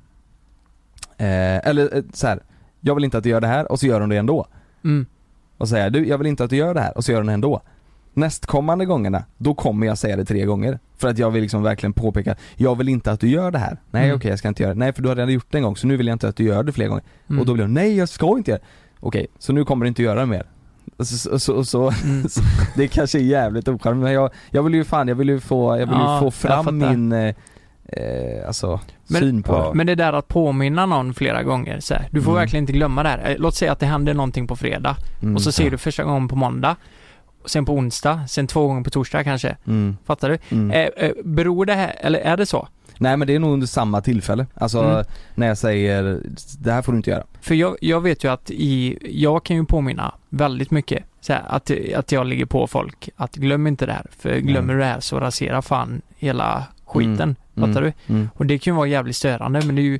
Eh, eller eh, så här. jag vill inte att du gör det här och så gör hon det ändå. Mm. Och säger du, jag vill inte att du gör det här och så gör hon det ändå. Nästkommande gångerna, då kommer jag säga det tre gånger. För att jag vill liksom verkligen påpeka, jag vill inte att du gör det här. Nej Mm. okej jag ska inte göra det. Nej för du har redan gjort det en gång så nu vill jag inte att du gör det fler gånger. Mm. Och då blir hon, nej jag ska inte göra det. Okej, så nu kommer du inte göra det mer. Så, så, så, så, Mm. så det kanske är jävligt ocharmigt men jag, jag vill ju fan, jag vill ju få, jag vill Ja, ju få jag fattar. fram min, eh, eh, alltså, syn Men, på det. men det där att påminna någon flera gånger så här, Du får Mm. verkligen inte glömma det här. Eh, Låt säga att det händer någonting på fredag Mm. och så ser Ja. du första gången på måndag. och Sen på onsdag, sen två gånger på torsdag kanske. Mm. Fattar du? Mm. Eh, eh, beror det här, eller är det så? Nej men det är nog under samma tillfälle. Alltså Mm. när jag säger, det här får du inte göra. För jag, jag vet ju att i, jag kan ju påminna väldigt mycket så här, att, att jag ligger på folk att glöm inte det här. För glömmer du det här så raserar fan hela Mm. skiten. Fattar Mm. du? Mm. Och det kan ju vara jävligt störande men det är ju,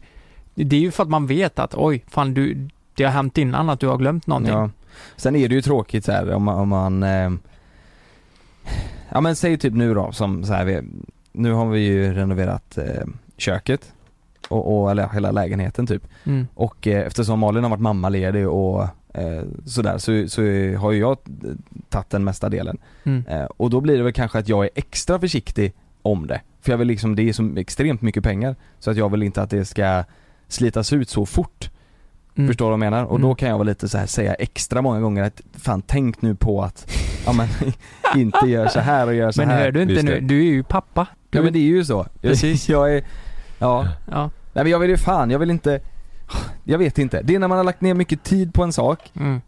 det är ju för att man vet att oj, fan du, det har hänt innan att du har glömt någonting. Ja. Sen är det ju tråkigt så här om man, om man eh, ja men säg typ nu då som så här, vi, nu har vi ju renoverat eh, köket och, och eller hela lägenheten typ. Mm. Och eh, eftersom Malin har varit mammaledig och eh, sådär så, så har ju jag eh, tagit den mesta delen. Mm. Eh, och då blir det väl kanske att jag är extra försiktig om det. För jag vill liksom, det är så extremt mycket pengar så att jag vill inte att det ska slitas ut så fort. mm. Förstår du vad jag menar? Och då kan jag vara lite så här säga extra många gånger att fan tänk nu på att, ja men inte gör så här och gör så Men här. hör du inte nu, du är ju pappa. Du, Ja men det är ju så. Precis. Jag är, ja. Ja. Nej men jag vill ju fan, jag vill inte, jag vet inte. Det är när man har lagt ner mycket tid på en sak Mm.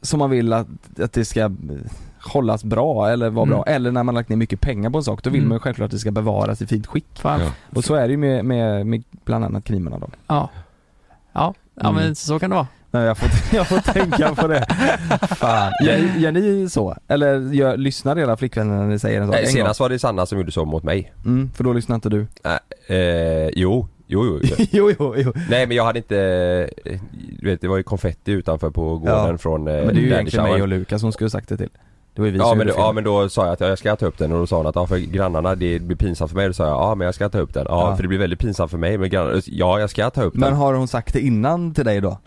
som man vill att, att det ska hållas bra eller vara bra. Eller när man har lagt ner mycket pengar på en sak, då vill Mm. man ju självklart att det ska bevaras i fint skick. Ja. Och så är det ju med, med, med bland annat krimerna då. Ja. Ja, ja Mm. men så kan det vara. Nej, jag, får, jag får tänka på det. Fan. Gör, gör ni så? Eller gör, lyssnar era flickvänner när ni säger en sak? Nej, En senast var det Sanna som gjorde så mot mig. gång. Mm, för då lyssnar inte du. Nej, eh, jo, jo, jo. jo. Jo, jo, jo. Nej men jag hade inte, eh, du vet det var ju konfetti utanför på gården Ja. från eh, Men det är ju daddy egentligen mig shower. och Lukas som skulle sagt det till. Det var ju vi Ja som men, gjorde då, fel. ja men då sa jag att ja, jag ska ta upp den och då sa hon att ja för grannarna det blir pinsamt för mig. Då sa jag ja men jag ska ta upp den. Ja, Ja. för det blir väldigt pinsamt för mig men grannarna, ja jag ska ta upp Men den. har hon sagt det innan till dig då?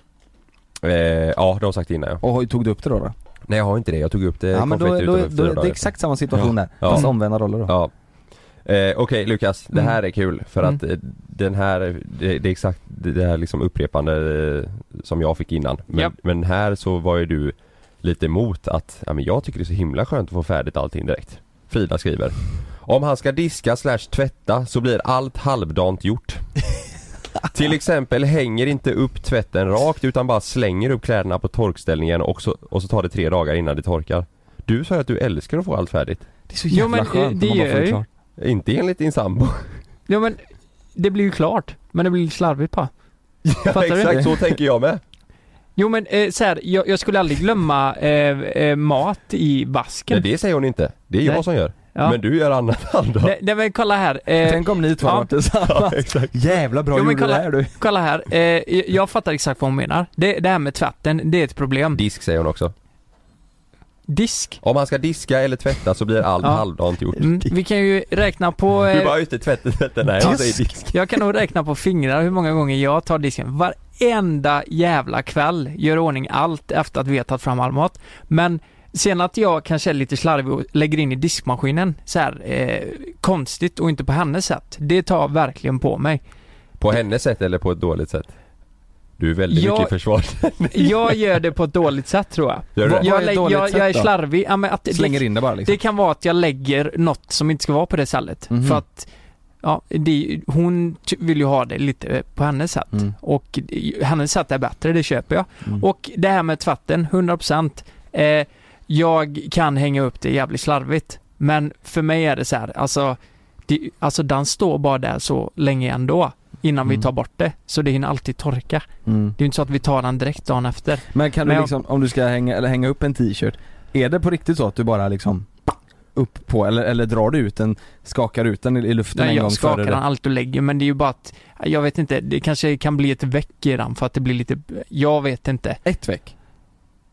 Eh, ja de har sagt det innan ja. Och har- tog du upp det då? då? Nej jag har inte det, jag tog upp det ja men då, konfetti då, utanför då, typ fyra det dagar är exakt samma situation där. Ja. Fast omvända roller då. Ja. Eh, Okej Lukas, det här Mm. är kul för att eh, den här, det, det är exakt det här liksom upprepande eh, som jag fick innan. Men, Japp. men här så var ju du lite emot att, ja men jag tycker det är så himla skönt att få färdigt allting direkt. Frida skriver. Om han ska diska slash tvätta så blir allt halvdant gjort. Till exempel hänger inte upp tvätten rakt utan bara slänger upp kläderna på torkställningen och så, och så tar det tre dagar innan det torkar. Du sa ju att du älskar att få allt färdigt. Det är så jävla skönt om man bara får det klart. Inte enligt din sambo. Ja men det blir ju klart, men det blir slarvigt bara. Ja, du? exakt så tänker jag med. Jo men eh, så här, jag, jag skulle aldrig glömma eh, eh, mat i vasken. Nej det säger hon inte. Det är jag Nej. som gör. Ja. Men du gör annat ändå. Nej, nej men kolla här. Eh, Tänk om ni två ja. hade varit tillsammans. Jävla bra Jo, men gjorde det kolla, här du. kolla här, eh, jag fattar exakt vad hon menar. Det, det här med tvätten, det är ett problem. Disk säger hon också. Disk? Om han ska diska eller tvätta så blir allt Ja. halvdant gjort. Mm, vi kan ju räkna på... Du eh, bara ute tvätten, tvätten, nej han säger disk. Jag kan nog räkna på fingrar hur många gånger jag tar disken. Varenda jävla kväll gör i ordning allt efter att vi har tagit fram all mat. Men sen att jag kanske är lite slarvig och lägger in i diskmaskinen så här eh, konstigt och inte på hennes sätt. Det tar jag verkligen på mig. På hennes sätt eller på ett dåligt sätt? Du är väldigt Jag- mycket i försvar. Jag gör det på ett dåligt sätt tror jag. Gör du det? Jag, Vad är ett lä- dåligt jag, sätt jag är då? slarvig. Ja, men att det- Slänger in det bara liksom. Det kan vara att jag lägger något som inte ska vara på det stället. Mhm. För att ja, det, hon ty- vill ju ha det lite eh, på hennes sätt. Mm. Och eh, hennes sätt är bättre, det köper jag. Och det här med tvätten, 100%. Eh, jag kan hänga upp det jävligt slarvigt. Men för mig är det så här, alltså, det, alltså den står bara där så länge ändå. Innan vi tar bort det. Så det hinner alltid torka. Mm. Det är ju inte så att vi tar den direkt dagen efter. Men kan Men du jag- liksom, om du ska hänga, eller hänga upp en t-shirt, är det på riktigt så att du bara liksom upp på, eller, eller drar du ut den, skakar ut den i- i luften Nej, en gång jag skakar före den det? allt och lägger men det är ju bara att Jag vet inte, det kanske kan bli ett veck i den för att det blir lite Jag vet inte Ett veck?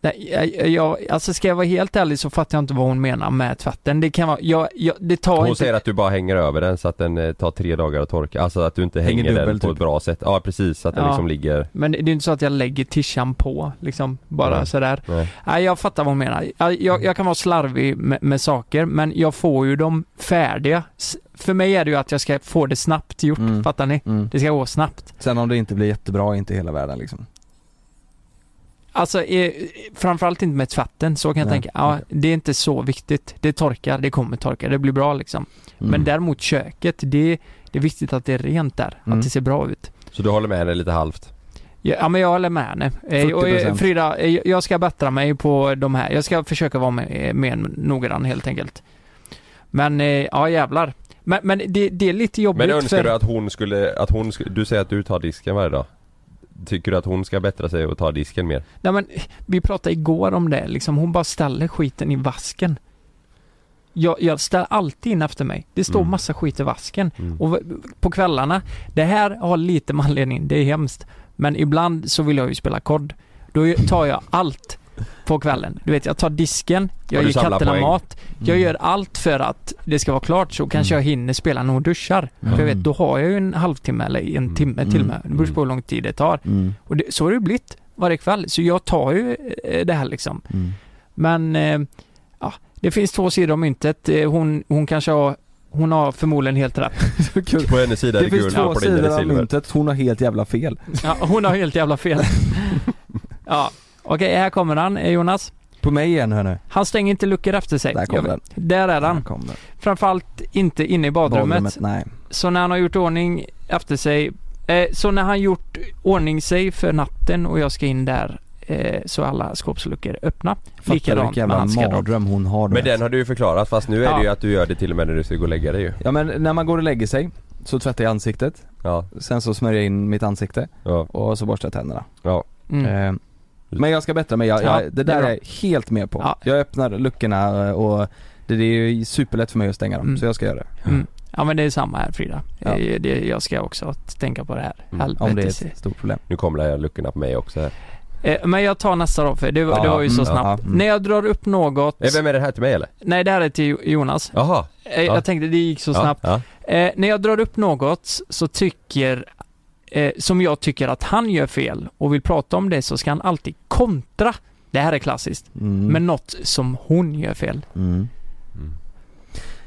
Nej, jag, jag, alltså ska jag vara helt ärlig så fattar jag inte vad hon menar med tvätten Det kan vara, jag, jag, det tar Hon inte säger att du bara hänger över den så att den eh, tar tre dagar att torka. Alltså att du inte Hänger hänger, den dubbel, på typ. ett bra sätt. Ja precis, så att den Ja. liksom ligger... Men det är ju inte så att jag lägger tishan på liksom, bara Nej. sådär Nej. Nej, jag fattar vad hon menar. Jag, jag, jag kan vara slarvig med, med saker, men jag får ju dem färdiga. S- För mig är det ju att jag ska få det snabbt gjort, Mm. fattar ni? Det ska gå snabbt. Sen om det inte blir jättebra, är inte hela världen liksom. Alltså, eh, framförallt inte med tvätten, så kan jag Nej, tänka. Ja, det är inte så viktigt. Det torkar, det kommer torka, det blir bra liksom. Mm. Men däremot köket, det, det är viktigt att det är rent där, Mm. att det ser bra ut. Så du håller med henne lite halvt? Ja, ja, men jag håller med henne. Eh, och, eh, 40%. Frida, eh, jag ska bättra mig på de här. Jag ska försöka vara mer, mer noggrann helt enkelt. Men, eh, ja jävlar. Men, men det, det är lite jobbigt Men önskar för... du att hon skulle, att hon skulle, du säger att du tar disken varje dag. Tycker du att hon ska bättra sig och ta disken mer? Nej men, vi pratade igår om det liksom. Hon bara ställer skiten i vasken. Jag, jag ställer alltid in efter mig. Det Mm. står massa skit i vasken. Mm. Och v- på kvällarna, det här har lite med anledning, det är hemskt. Men ibland så vill jag ju spela kod. Då tar jag allt på kvällen. Du vet, jag tar disken, jag Och du ger samlar katterna poäng. Mm. mat. Jag gör allt för att det ska vara klart så kanske jag hinner spela när hon duschar. För Mm. jag vet, då har jag ju en halvtimme eller en timme Mm. till och med. Det beror på hur lång tid det tar. Och det, så har det ju blivit varje kväll. Så jag tar ju eh, det här liksom. Men eh, ja, det finns två sidor om myntet. Eh, Hon, hon kanske har, hon har förmodligen helt rätt. På hennes sida är Det det finns guld två och på din är sidor det av silver. myntet, hon har helt jävla fel. Ja, hon har helt jävla fel. Ja, okej här kommer han eh, Jonas. På mig igen hörni. Han stänger inte luckor efter sig. Där kom Jag vet- den. Där är han. Där kom den. Framförallt inte inne i badrummet. Badrummet, nej. Så när han har gjort ordning efter sig, eh, så när han gjort ordning sig för natten och jag ska in där, eh, så är alla skåpsluckor är öppna. Fattar du vilken jävla mardröm hon har? du Men vet. den har du ju förklarat fast nu är det ju att du gör det till och med när du ska gå och lägga dig ju. Ja men när man går och lägger sig så tvättar jag ansiktet. Sen så smörjer jag in mitt ansikte. Och så borstar jag tänderna. Mm. Eh, Men jag ska bättra mig, jag, Ja, jag, det det är där bra. är jag helt med på. Jag öppnar luckorna eh, och det, det är ju superlätt för mig att stänga dem, Mm. så jag ska göra det. Mm. Ja men det är samma här Frida. Ja. Eh, Det, jag ska också tänka på det här. Mm. Helvetes. stort problem. Nu kommer det här luckorna på mig också här. Eh, Men jag tar nästa då för det, var- Ja, det var ju så mm, ja, snabbt. mm. När jag drar upp något... Eh, Vem är det här till mig eller? Nej det här är till Jo- Jonas. Jaha. Eh, Ja. Jag tänkte det gick så Ja, snabbt. ja. Eh, när jag drar upp något så tycker, eh, som jag tycker att han gör fel och vill prata om det så ska han alltid kontra. Det här är klassiskt. Mm. Men något som hon gör fel. Mm.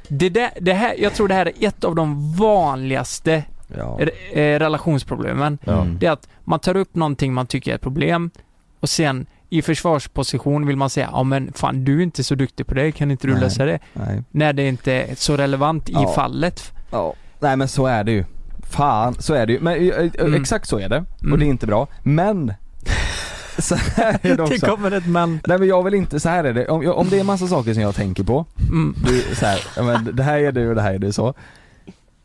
Det där, det här, jag tror det här är ett av de vanligaste Ja. re- eh, relationsproblemen. Ja. Mm. Det är att man tar upp någonting man tycker är ett problem och sen i försvarsposition vill man säga ja men fan du är inte så duktig på det, kan inte du Nej. lösa det? Nej. När det inte är så relevant i Ja. fallet. Ja. Nej men så är det ju. Fan, så är det ju. Men eh, eh, Mm. exakt så är det. Mm. Och det är inte bra. Men så här är det också. Det kommer ett men. Nej men jag vill inte, så här är det. Om, jag- om det är massa saker som jag tänker på, Mm. du, så här, ja, men det här är du och det här är du så.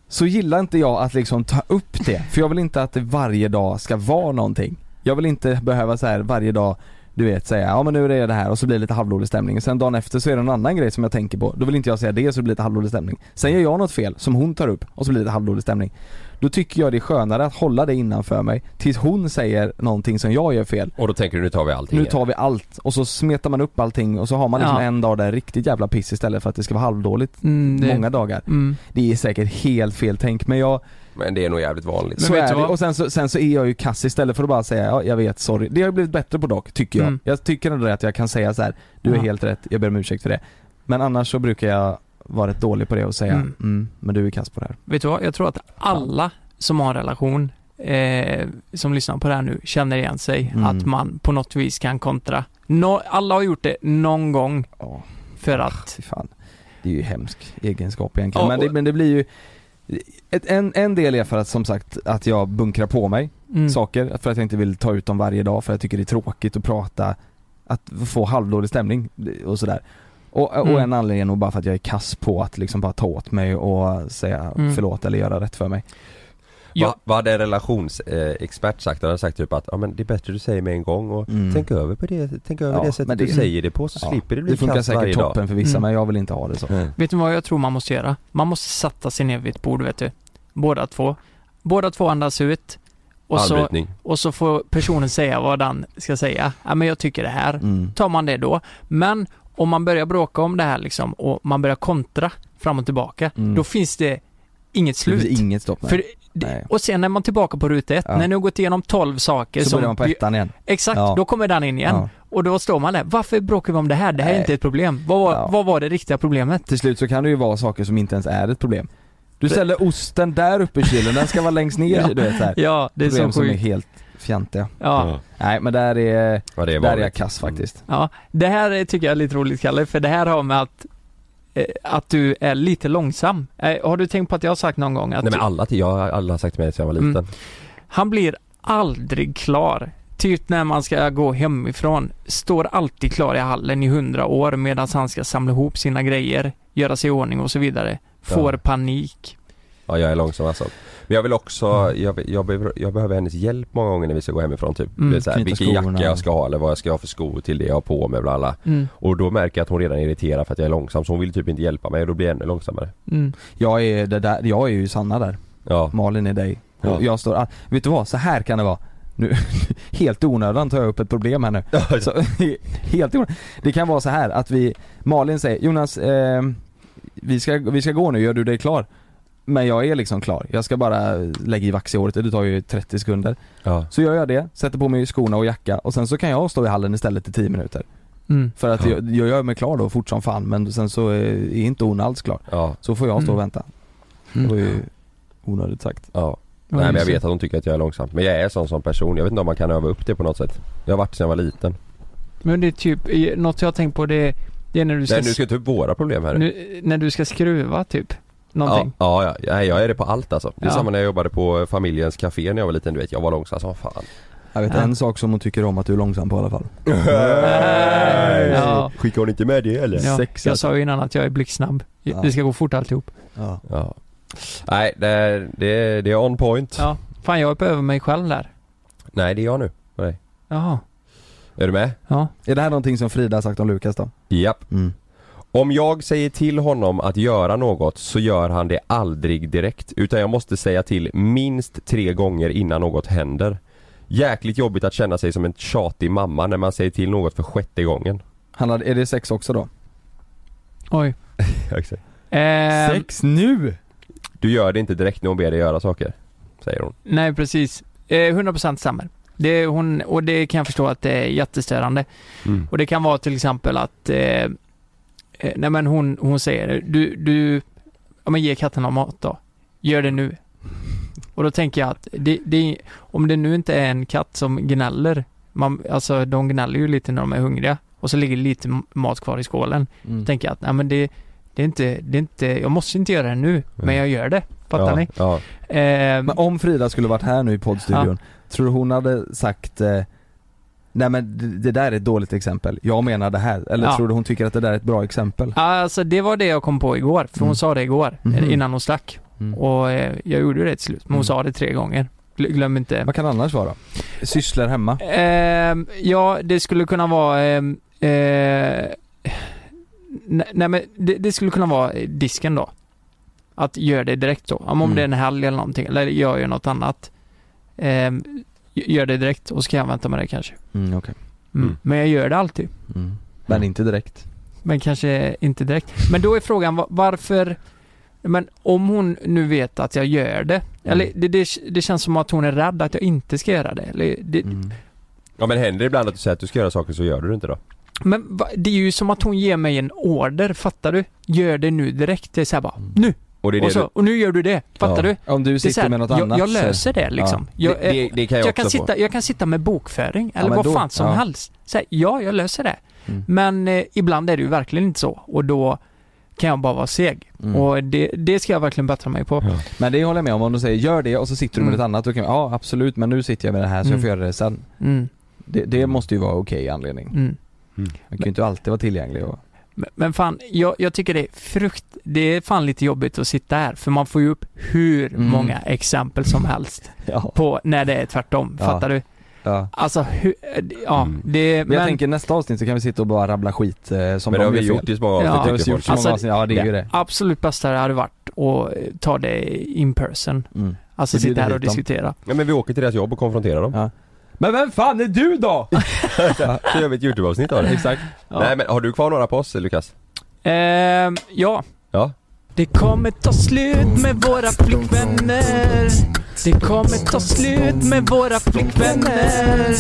Så gillar inte jag att liksom ta upp det, för jag vill inte att det varje dag ska vara någonting. Jag vill inte behöva så här varje dag, du vet säga ja men nu är det det här och så blir det lite halvdålig stämning. Sen dagen efter så är det någon annan grej som jag tänker på, då vill inte jag säga det så det blir lite halvdålig stämning. Sen gör jag något fel som hon tar upp och så blir det lite halvdålig stämning. Då tycker jag det är skönare att hålla det innanför mig tills hon säger någonting som jag gör fel. Och då tänker du nu tar vi allting. Nu tar vi allt och så smetar man upp allting och så har man liksom Ja. en dag där riktigt jävla piss istället för att det ska vara halvdåligt Mm, det- många dagar. Mm. Det är säkert helt fel tänk men jag, Men det är nog jävligt vanligt. så är det. Och sen så, sen så är jag ju kass istället för att bara säga ja, jag vet, sorry. Det har jag blivit bättre på dock, tycker jag. Mm. Jag tycker ändå att jag kan säga så här: du är Ja. helt rätt, jag ber om ursäkt för det. Men annars så brukar jag vara rätt dålig på det och säga Mm. mm. men du är kass på det här. Vet du vad, jag tror att alla som har en relation eh, som lyssnar på det här nu känner igen sig. Mm. Att man på något vis kan kontra. Nå- alla har gjort det någon gång. För att... Ah, fan. Det är ju hemsk egenskap egentligen. Ja, men, det, och- men det blir ju ett, en, en del är för att som sagt att jag bunkrar på mig Mm. saker för att jag inte vill ta ut dem varje dag för jag tycker det är tråkigt att prata, att få halvdålig stämning och sådär. Och, och Mm. en anledning är nog bara för att jag är kass på att liksom bara ta åt mig och säga Mm. förlåt eller göra rätt för mig. Va, vad hade en relationsexpert sagt? Han hade sagt typ att ja, men det är bättre du säger med en gång och tänk över på Mm. det, tänk över Mm. Ja, det sättet men du säger det på så ja, slipper det bli Det funkar kast varje säkert dag. Mm. toppen för vissa Mm. men jag vill inte ha det så. Vet du vad jag tror man måste göra? Man måste sätta sig ner vid ett bord, vet du. Båda två. Båda två andas ut. Och så, Armbrytning. och så får personen säga vad den ska säga. Ja, men jag tycker det här. Mm. Tar man det då. Men om man börjar bråka om det här liksom och man börjar kontra fram och tillbaka. Mm. Då finns det inget Det slut. blir inget stopp. nej. För det- Nej. och sen när man är tillbaka på ruta ett, Ja. när ni har gått igenom 12 saker Så som... börjar man på ettan igen. Exakt, Ja. då kommer den in igen. Ja. Och då står man där, varför bråkar vi om det här? Det här är Nej. inte ett problem. Vad var, vad var det riktiga problemet? Till slut så kan det ju vara saker som inte ens är ett problem. Du ställer osten där uppe i kylen, den ska vara längst ner Ja. du vet så här. Ja, det är Problem så som är sjukt. helt fjantiga. Ja. Ja. Nej men där är, är där är jag vanligt. Mm. kass faktiskt. Ja, det här är- tycker jag är lite roligt Kalle, för det här har med att, eh, att du är lite långsam. Eh, Har du tänkt på att jag har sagt någon gång att Nej men alla, jag, alla har sagt till mig sedan jag var liten. Mm. han blir aldrig klar. Typ när man ska gå hemifrån, står alltid klar i hallen i hundra år medan han ska samla ihop sina grejer, göra sig i ordning och så vidare. Får Ja. panik. Ja jag är långsam alltså. Men jag vill också, Mm. jag, jag, behöver, jag behöver hennes hjälp många gånger när vi ska gå hemifrån typ. Mm, Det är så här, knyta vilken skorna. jacka jag ska ha eller vad jag ska ha för skor till det jag har på mig bla bla. Mm. Och då märker jag att hon redan är irriterad för att jag är långsam så hon vill typ inte hjälpa mig och då blir jag ännu långsammare. Mm. Jag är, det där, jag är ju Sanna där. Malin är dig. Och Ja. Jag står, all- vet du vad, så här kan det vara. Nu, helt i onödan tar jag upp ett problem här nu. Så, helt i onödan. Det kan vara så här att vi, Malin säger Jonas, eh, vi, ska, vi ska gå nu, gör du dig klar? Men jag är liksom klar, jag ska bara lägga i vax i håret, det tar ju 30 sekunder. Ja. Så gör jag det, sätter på mig skorna och jacka och sen så kan jag stå i hallen istället i 10 minuter. Mm. För att Ja. jag, jag gör mig klar då fort som fan men sen så är är inte hon alls klar. Ja. Så får jag stå och vänta. Det Mm. var ju onödigt sagt. Ja. Ja, Nej men jag just det. vet att hon tycker att jag är långsam. Men jag är sån som person. Jag vet inte om man kan öva upp det på något sätt. Jag har varit sedan jag var liten. Men det är typ, eh, något jag har tänkt på det, det är när du ska, Nej nu ska jag ta upp våra problem här. nu, när du ska skruva typ. Ja, Någonting. ja, ja, Nej, jag är det på allt alltså. Det är Ja. samma när jag jobbade på familjens café när jag var liten, du vet jag var långsam som fan. Jag vet en sak som hon tycker om att du är långsam på i alla fall. Ja. Skickar hon inte med det eller? Ja, Sex, jag alltså. sa ju innan att jag är blixtsnabb. Ja. Det ska gå fort alltihop. Ja. Ja. Nej, det är, det, är, det är on point. Ja. Fan, jag är på över mig själv där. Nej, det är jag nu. Nej. Jaha. Är du med? Ja. Är det här någonting som Frida har sagt om Lukas då? Japp. Mm. Om jag säger till honom att göra något så gör han det aldrig direkt utan jag måste säga till minst tre gånger innan något händer. Jäkligt jobbigt att känna sig som en tjatig mamma när man säger till något för sjätte gågen. Han hade, är det sex också då? Oj. Exakt. Ehm, nu? Du gör det inte direkt när hon ber dig göra saker, säger hon. Nej, precis. Eh, 100% stämmer. Det, är hon, och det kan jag förstå att det är jättestörande. Mm. Och det kan vara till exempel att, eh, eh, nej men hon, hon säger, du, du, ja men ge katterna mat då. Gör det nu. Och då tänker jag att, det, det, om det nu inte är en katt som gnäller, man, alltså de gnäller ju lite när de är hungriga och så ligger lite m- mat kvar i skålen. Mm. Då tänker jag att, nej men det, det är inte, det är inte, jag måste inte göra det nu, men jag gör det. Fattar Mm. Ja, ni? Ja. Ehm, Men om Frida skulle varit här nu i poddstudion, tror du hon hade sagt eh, Nej men det- det där är ett dåligt exempel, jag menar det här. Eller Ja. tror du hon tycker att det där är ett bra exempel? Alltså det var det jag kom på igår, för hon Mm. sa det igår, eh, Mhm. innan hon stack. Mm. Och eh, jag gjorde det till slut, men hon Mm. sa det tre gånger. Gl- Glöm inte. Vad kan det annars vara? Sysslar hemma? Ehm, ja, det skulle kunna vara... ehm, eh, nej, nej men det, det skulle kunna vara eh, disken då. Att göra det direkt då. Om Mm. det är en helg eller någonting, eller jag gör något annat. Ehm, gör det direkt och så kan jag vänta med det kanske. Mm, okej. Mm. Mm. Men jag gör det alltid. Mm. Men inte direkt. Men kanske inte direkt. Men då är frågan va- varför... Men om hon nu vet att jag gör Mm. det. Eller det, det, det känns som att hon är rädd att jag inte ska göra det. Eller det Mm. Ja men händer det ibland att du säger att du ska göra saker så gör du det inte då? Men va, det är ju som att hon ger mig en order, fattar du? Gör det nu direkt. Det är såhär Mm. bara, nu! Och det är det så, du- och nu gör du det, fattar Ja. du? Om du Det är sitter så här, med något jag, annat Jag så- löser det liksom. Ja. Jag, Det- det- det kan jag kan också få. sitta, jag kan sitta med bokföring, eller men vad då- fan som ja. helst. Så här, ja, jag löser det. Mm. Men eh, ibland är det ju verkligen inte så och då kan jag bara vara seg. Mm. Och det, det ska jag verkligen bättra mig på. Men det håller jag med om, om de säger gör det och så sitter du med Mm. ett annat, då kan jag, ja absolut men nu sitter jag med det här så jag får Mm. göra det sen. Mm. Det, det måste ju vara okej anledning. Mm. Man kan ju inte alltid vara tillgänglig och... Men- Men fan, jag, jag tycker det är frukt... Det är fan lite jobbigt att sitta här, för man får ju upp hur Mm. många exempel som helst på när det är tvärtom. Ja. Fattar du? Ja. Alltså, hur... Ja, Mm. det... Men jag tänker nästa avsnitt så kan vi sitta och bara rabbla skit eh, som Men de det har vi gör fel. gjort i så många Det avsnitt, har vi tycker gjort folk. så många Alltså, avsnitt, ja det är ju det. absolut bästa det hade varit att eh, ta det in person. Mm. Alltså Så bjuder sitta här och hit dem. diskutera. Ja men vi åker till deras jobb och konfronterar dem. Men vem fan är du då? så gör vi ett YouTube-avsnitt av det. Exakt. Nej men har du kvar några på oss Lukas? Ehm, ja. Ja. Det kommer ta slut med våra flickvänner. Det kommer ta slut med våra flickvänner.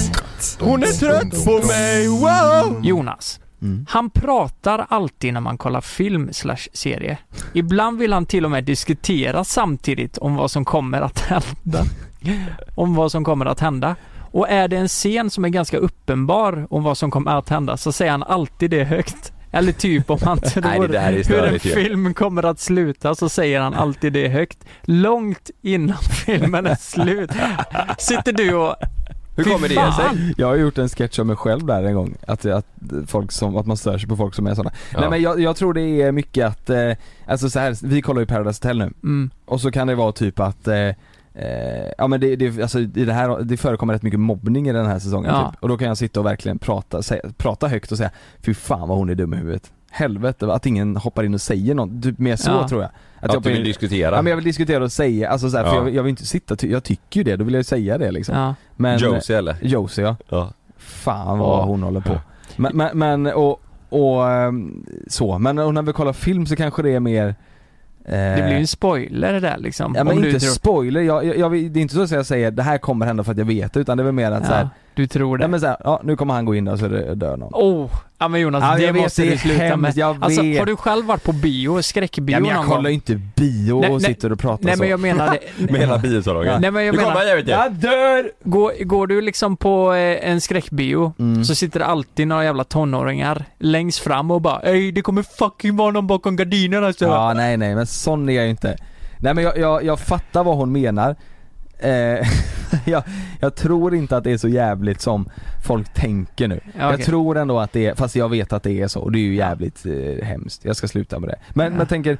Hon är trött på mig, wow! Jonas. Mm. Han pratar alltid när man kollar film slash serie. Ibland vill han till och med diskutera samtidigt om vad som kommer att hända. Om vad som kommer att hända. Och är det en scen som är ganska uppenbar om vad som kommer att hända så säger han alltid det högt. Eller typ om han tror Nej, det där är hur en störigt ju. film kommer att sluta så säger han alltid det högt. Långt innan filmen är slut. Sitter du och... Fy fan! Jag har gjort en sketch om mig själv där en gång, att, att, folk som, att man stör sig på folk som är sådana. Ja. Nej men jag, jag tror det är mycket att, eh, alltså så här, vi kollar ju Paradise Hotel nu, Mm. och så kan det vara typ att eh, eh, Ja men det, det, alltså, i det, här, det förekommer rätt mycket mobbning i den här säsongen Ja. typ. Och då kan jag sitta och verkligen prata, säga, prata högt och säga Fy fan vad hon är dum i huvudet Helvete att ingen hoppar in och säger något, typ mer så Ja. tror jag Att jag du vill hoppar in- diskutera. Ja men jag vill diskutera och säga, alltså så här, för Ja. jag, jag vill inte sitta, ty- jag tycker ju det, då vill jag ju säga det liksom Ja. men, Josie, eller? Josie ja. ja. Fan vad Ja. hon håller på. Men, men, men och, och ehm, så, men när vi kollar film så kanske det är mer Det blir ju en spoiler det där liksom. Eh. Ja men om du inte tror- spoiler, jag, jag, jag, det är inte så att jag säger det här kommer hända för att jag vet det, utan det är väl mer att Ja, så här, Du tror det? Nej men så här, ja nu kommer han gå in där så det- dör någon. Oh, ja men Jonas, Ja, det jag vet, måste det du är sluta hemskt, med. jag Alltså, vet. har du själv varit på bio, skräckbio ja, men jag någon gång? kollar ju inte bio Nej, och nej, sitter och pratar nej, så. men jag menar det- Med hela biosalongen. Nej men jag nu kommer menar, han jävligt jag dör! Går, går du liksom på eh, en skräckbio Mm. så sitter det alltid några jävla tonåringar längst fram och bara Ey det kommer fucking vara någon bakom alltså." gardinerna så. Ja nej nej men sån är jag ju inte. Nej men jag, jag, jag fattar vad hon menar. Eh, jag, jag tror inte att det är så jävligt som folk tänker nu. Jag okej. tror ändå att det är, fast jag vet att det är så och det är ju jävligt eh, hemskt. Jag ska sluta med det. Men Ja. jag tänker,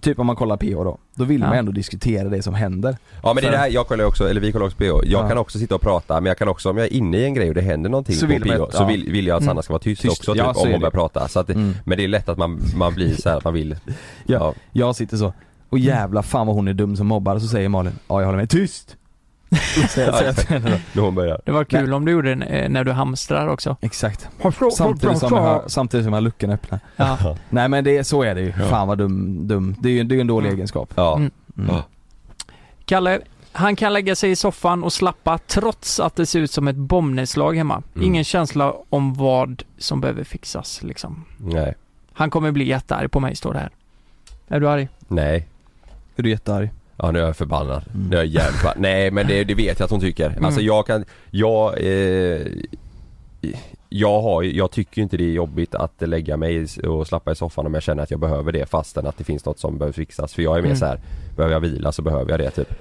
typ om man kollar PH då, då vill man Ja. ändå diskutera det som händer. Ja men det För- där, jag kollar ju också, eller vi kollar också PO. Jag Ja. kan också sitta och prata men jag kan också, om jag är inne i en grej och det händer någonting Så på vill man- PO så ja. vill, vill jag att Sanna Mm. ska vara tyst, Tyst, också typ, ja, så om är hon det. börjar prata. Så att, det- Mm. Men det är lätt att man, man blir så här att man vill Ja, jag sitter så. Och Mm. jävla fan vad hon är dum som mobbar. Så säger Malin, ja jag håller med. Tyst! Ja, exakt. När hon börjar. Det var kul om du gjorde det eh, när du hamstrar också. Exakt. Samtidigt som, jag, hör- samtidigt som jag har luckan öppna. Ja. Nej men det, så är det ju. Ja. Fan vad dum, dum. Det är ju det är ju en dålig egenskap. Ja. Mm. Kalle, han kan lägga sig i soffan och slappa trots att det ser ut som ett bombnedslag hemma. Mm. Ingen känsla om vad som behöver fixas liksom. Nej. Han kommer bli jättearg på mig står det här. Är du arg? Nej. Är du jättearg? Ja nu är jag förbannad. Nu är jag jävligt förbannad. Nej men det, det vet jag att hon tycker. Alltså Mm. jag kan, jag, eh, jag har ju- jag tycker ju inte det är jobbigt att lägga mig i- och slappa i soffan om jag känner att jag behöver det fastän att det finns något som behöver fixas. För jag är mer Mm. så här, behöver jag vila så behöver jag det typ.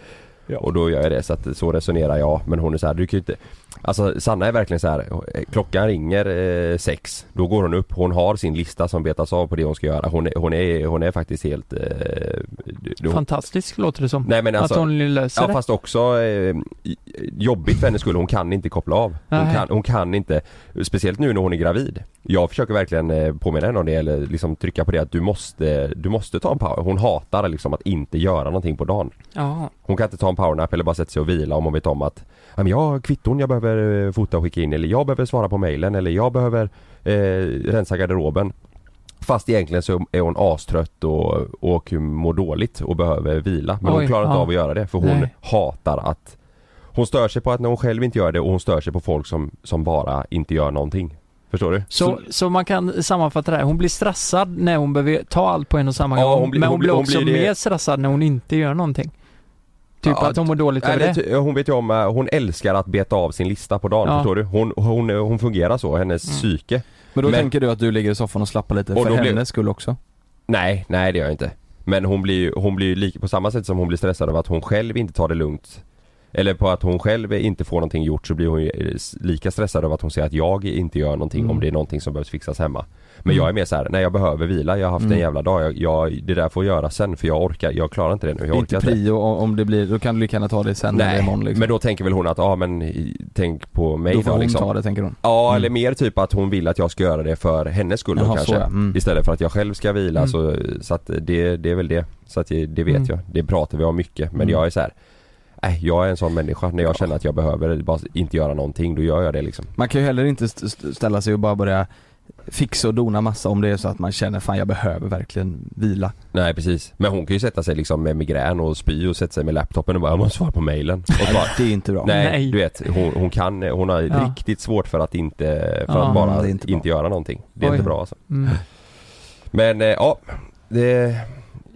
Och då gör jag det så att så resonerar jag men hon är så här, du kan ju inte Alltså Sanna är verkligen så här. eh, klockan ringer eh, sex, då går hon upp, hon har sin lista som betas av på det hon ska göra. Hon är, hon är, hon är faktiskt helt... Eh, du- Fantastiskt låter det som. Nej, men alltså, att hon löser ja, det. fast också eh, jobbigt för hennes skull. Hon kan inte koppla av. Hon Nej. kan, hon kan inte, speciellt nu när hon är gravid. Jag försöker verkligen eh, påminna henne om det eller liksom trycka på det att du måste, du måste ta en power. Hon hatar liksom att inte göra någonting på dagen. Ja. Hon kan inte ta en powernap eller bara sätta sig och vila om hon vet om att "Ja, men jag har kvitton jag behöver eh, fota och skicka in eller jag behöver svara på mejlen eller jag behöver eh, rensa garderoben. Fast egentligen så är hon astrött och, och mår dåligt och behöver vila. Men hon Oj, klarar inte ja. av att göra det för hon Nej. hatar att Hon stör sig på att när hon själv inte gör det och hon stör sig på folk som, som bara inte gör någonting. Förstår du? Så, så man kan sammanfatta det här. Hon blir stressad när hon behöver ta allt på en och samma Ja, gång. hon blir- men hon hon, blir blir- hon också blir det- mer stressad när hon inte gör någonting. Typ Ja, att hon mår dåligt Nej, över men det. det, hon vet ju om, eh, hon älskar att beta av sin lista på dagen, Ja. Mm. förstår du? Hon, hon, hon fungerar så, hennes psyke. Men då tänker du att du ligger i soffan och slappar lite Och för då blir- hennes skull också? Nej, nej det gör jag inte. Men hon blir ju, hon blir ju lik, på samma sätt som hon blir stressad av att hon själv inte tar det lugnt Eller på att hon själv inte får någonting gjort så blir hon ju eh, s- lika stressad av att hon ser att jag inte gör någonting Mm. om det är någonting som behövs fixas hemma Men jag är mer så här: nej jag behöver vila, jag har haft en Mm. jävla dag, jag, jag, det där får jag göra sen för jag orkar, jag klarar inte det nu, jag orkar Inte prio om om det blir, då kan du lika gärna ta det sen eller Nej, imorgon liksom. men då tänker väl hon att, ja ah, men i- tänk på mig Då får hon liksom. ta det, tänker hon. Ja eller mer typ att hon vill att jag ska göra det för hennes skull då Mm. Jaha, kanske. så ja. Mm. Istället för att jag själv ska vila Mm. så, så att det, det är väl det. Så att det, det vet Mm. jag. Det pratar vi om mycket men Mm. jag är så här. Nej, jag är en sån människa. När jag känner att jag behöver bara inte göra någonting, då gör jag det liksom. Man kan ju heller inte st- st- ställa sig och bara börja fixa och dona massa om det är så att man känner fan jag behöver verkligen vila. Nej precis. Men hon kan ju sätta sig liksom med migrän och spy och sätta sig med laptopen och bara 'Jag måste svara på mailen' och så bara, Det är inte bra. Nej, Nej. du vet. Hon, hon kan, hon har Ja. riktigt svårt för att inte, för Ja. att bara Mm, Det är inte inte, bra. göra någonting. Det är Oj. inte bra alltså. Mm. Men eh, ja, det,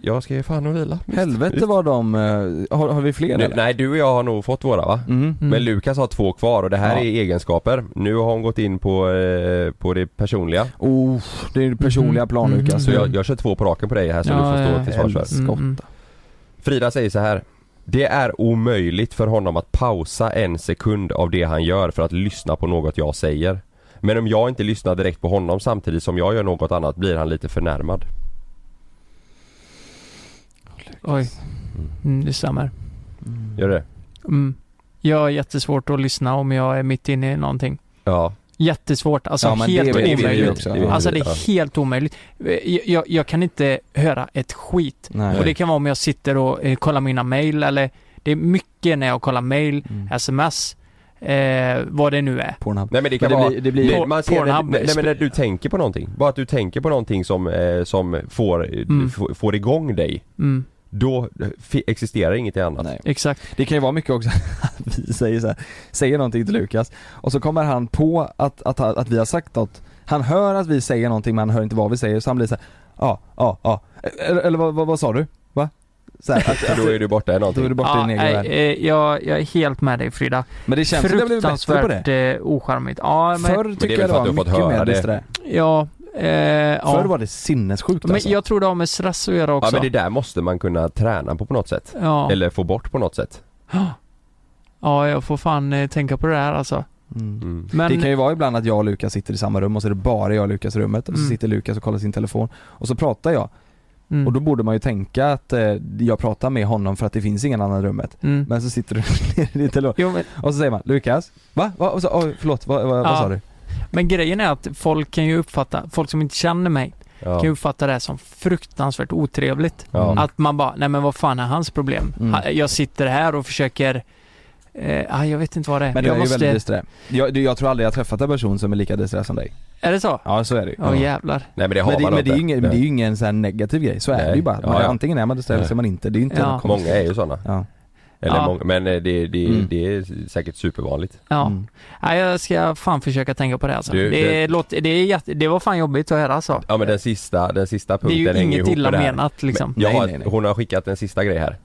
jag ska ju fan och vila. Helvete vad de, eh, har, har vi fler Nu, eller? nej du och jag har nog fått våra va? Mm. Men Lukas har två kvar och det här Ja. är egenskaper. Nu har hon gått in på, eh, på det personliga. Oh, det är det Mm. personliga plan Lukas. Så jag, jag kör två på raken på dig här så Ja, du får stå ja, Mm. till svars för. Helskotta. Frida säger så här. Det är omöjligt för honom att pausa en sekund av det han gör för att lyssna på något jag säger. Men om jag inte lyssnar direkt på honom samtidigt som jag gör något annat blir han lite förnärmad. Oj. Mm, det stämmer. Gör det? Mm. Jag har jättesvårt att lyssna om jag är mitt inne i någonting. Ja. Jättesvårt, alltså Ja, men det helt vet vi ju omöjligt. också. Det vet alltså vi, det är ja. helt omöjligt. Eh, Jag, jag kan inte höra ett skit. Nej. Och det kan vara om jag sitter och eh, kollar mina mail eller det är mycket när jag kollar mail, Alltså- sms, eh, vad det nu är. Mm. Pornhub. Nej men det kan Men det vara, blir- det blir- det- man ser när, Pornhub- nej, men när du tänker på någonting, bara att du tänker på någonting som, eh, som får, Mm. f- får igång dig Mm. Då f- existerar inget annat Nej. Exakt. Det kan ju vara mycket också att vi säger så här, säger någonting till Lukas och så kommer han på att, att, att vi har sagt något. Han hör att vi säger någonting men han hör inte vad vi säger så han blir så här, ja, ja, ja. Eller, eller vad, vad, vad sa du? Va? Så här, alltså, att, För då är du borta i någonting Då är du borta i din egen nej, värld. eh, jag, jag är helt med dig Frida. Men det känns som det blev bättre på det. Fruktansvärt eh, ocharmigt. Ja, men... Förr tycker jag det var mycket mer det. där. Ja, eh, ja. Förr var det sinnessjukt Men alltså. jag tror det har med stress att göra Ja också. men det där måste man kunna träna på på något sätt Ja. Eller få bort på något sätt Ja, jag får fan eh, tänka på det där alltså. Mm. Men- Mm. Det kan ju vara ibland att jag och Lukas sitter i samma rum och så är det bara jag och Lukas i rummet och så Mm. sitter Lukas och kollar sin telefon och så pratar jag. Mm. Och då borde man ju tänka att eh, jag pratar med honom för att det finns ingen annan i rummet. Mm. Men så sitter du nere i telefonen och så säger man Lukas, va? va? Och så, oj, förlåt, vad, vad, vad Ja. sa du? Men grejen är att folk kan ju uppfatta, folk som inte känner mig, Ja. kan ju uppfatta det här som fruktansvärt otrevligt. Ja. Mm. Att man bara, nej men vad fan är hans problem? Mm. Ha- Jag sitter här och försöker, eh, ah, jag vet inte vad det är. Men du jag är ju väldigt disträ. Jag, du, jag tror aldrig jag har träffat en person som är lika disträ som dig. Är det så? Ja så är det ju. Åh, Ja. jävlar. Nej, men det har men det, man men inte. det är ju ingen, men Nej. det är ju ingen sån här negativ grej, så är Nej. det ju bara. Man, Ja, ja. Antingen är man disträ eller så är man inte. Det är ju inte Ja. något konstigt. Många är ju sådana. Ja. Eller Ja. många, men eh, det, det, Mm. det är säkert supervanligt. Ja. Mm. Nej, jag ska fan försöka tänka på det alltså. Du- det, du- Låter, det, är jätte, det var fan jobbigt att höra alltså. Ja men den sista, den sista Det är ju punkten hänger inget ihop illa med det här. menat, liksom. Men Jag Nej, har, nej, nej. Hon har skickat en sista grej här.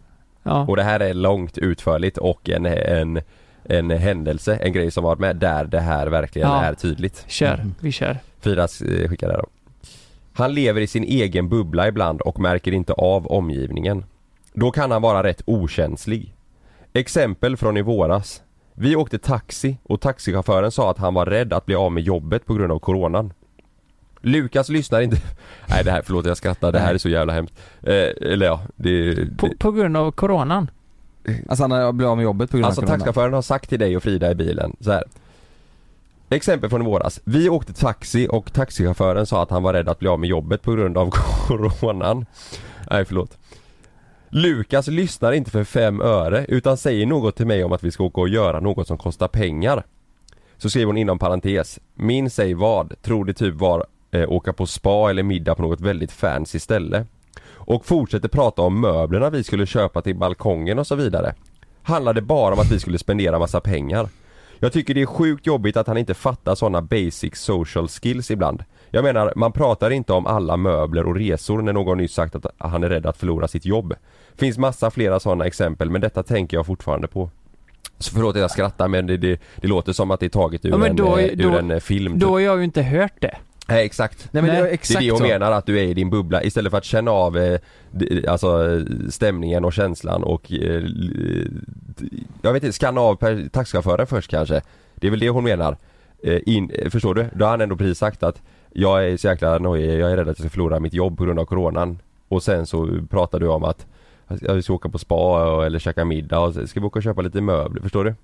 Ja. Och det här är långt utförligt och en, en, en händelse, en grej som varit med där det här verkligen Ja. är tydligt. Mm. Kör, vi kör. Firas eh, skickar det här då. Han lever i sin egen bubbla ibland och märker inte av omgivningen. Då kan han vara rätt okänslig. Exempel från i våras. Vi åkte taxi och taxichauffören sa att han var rädd att bli av med jobbet på grund av coronan. Lukas lyssnar inte... Nej det här, förlåt jag skrattar, det här är så jävla hemskt. Eh, eller ja, det... På, på grund av coronan. Alltså han har blivit av med jobbet på grund Alltså av corona. taxichauffören har sagt till dig och Frida i bilen så här. Exempel från i våras. Vi åkte taxi och taxichauffören sa att han var rädd att bli av med jobbet på grund av coronan. Nej förlåt. Lukas lyssnar inte för fem öre utan säger något till mig om att vi ska åka och göra något som kostar pengar. Så skriver hon inom parentes. Min säg vad, tror det typ var eh, åka på spa eller middag på något väldigt fancy ställe. Och fortsätter prata om möblerna vi skulle köpa till balkongen och så vidare. Handlade bara om att vi skulle spendera massa pengar. Jag tycker det är sjukt jobbigt att han inte fattar sådana basic social skills ibland. Jag menar, man pratar inte om alla möbler och resor när någon nyss sagt att han är rädd att förlora sitt jobb. Finns massa flera sådana exempel men detta tänker jag fortfarande på. Så förlåt att jag skrattar men det, det, det låter som att det är taget ur, Ja, men en, då- eh, ur då- en eh, film. Då har jag ju inte hört det. Nej exakt. Nej, men det är exakt det är det så. jag menar, att du är i din bubbla istället för att känna av eh, d- alltså, eh, stämningen och känslan och eh, l- d- jag vet inte, skanna av per- taxichauffören först kanske. Det är väl det hon menar. Eh, in, eh, förstår du? Då har han ändå precis sagt att jag är så jäkla nojig, jag är rädd att jag ska förlora mitt jobb på grund av coronan. Och sen så pratar du om att ja, vi ska åka på spa och- eller käka middag och så ska vi åka och köpa lite möbler, förstår du?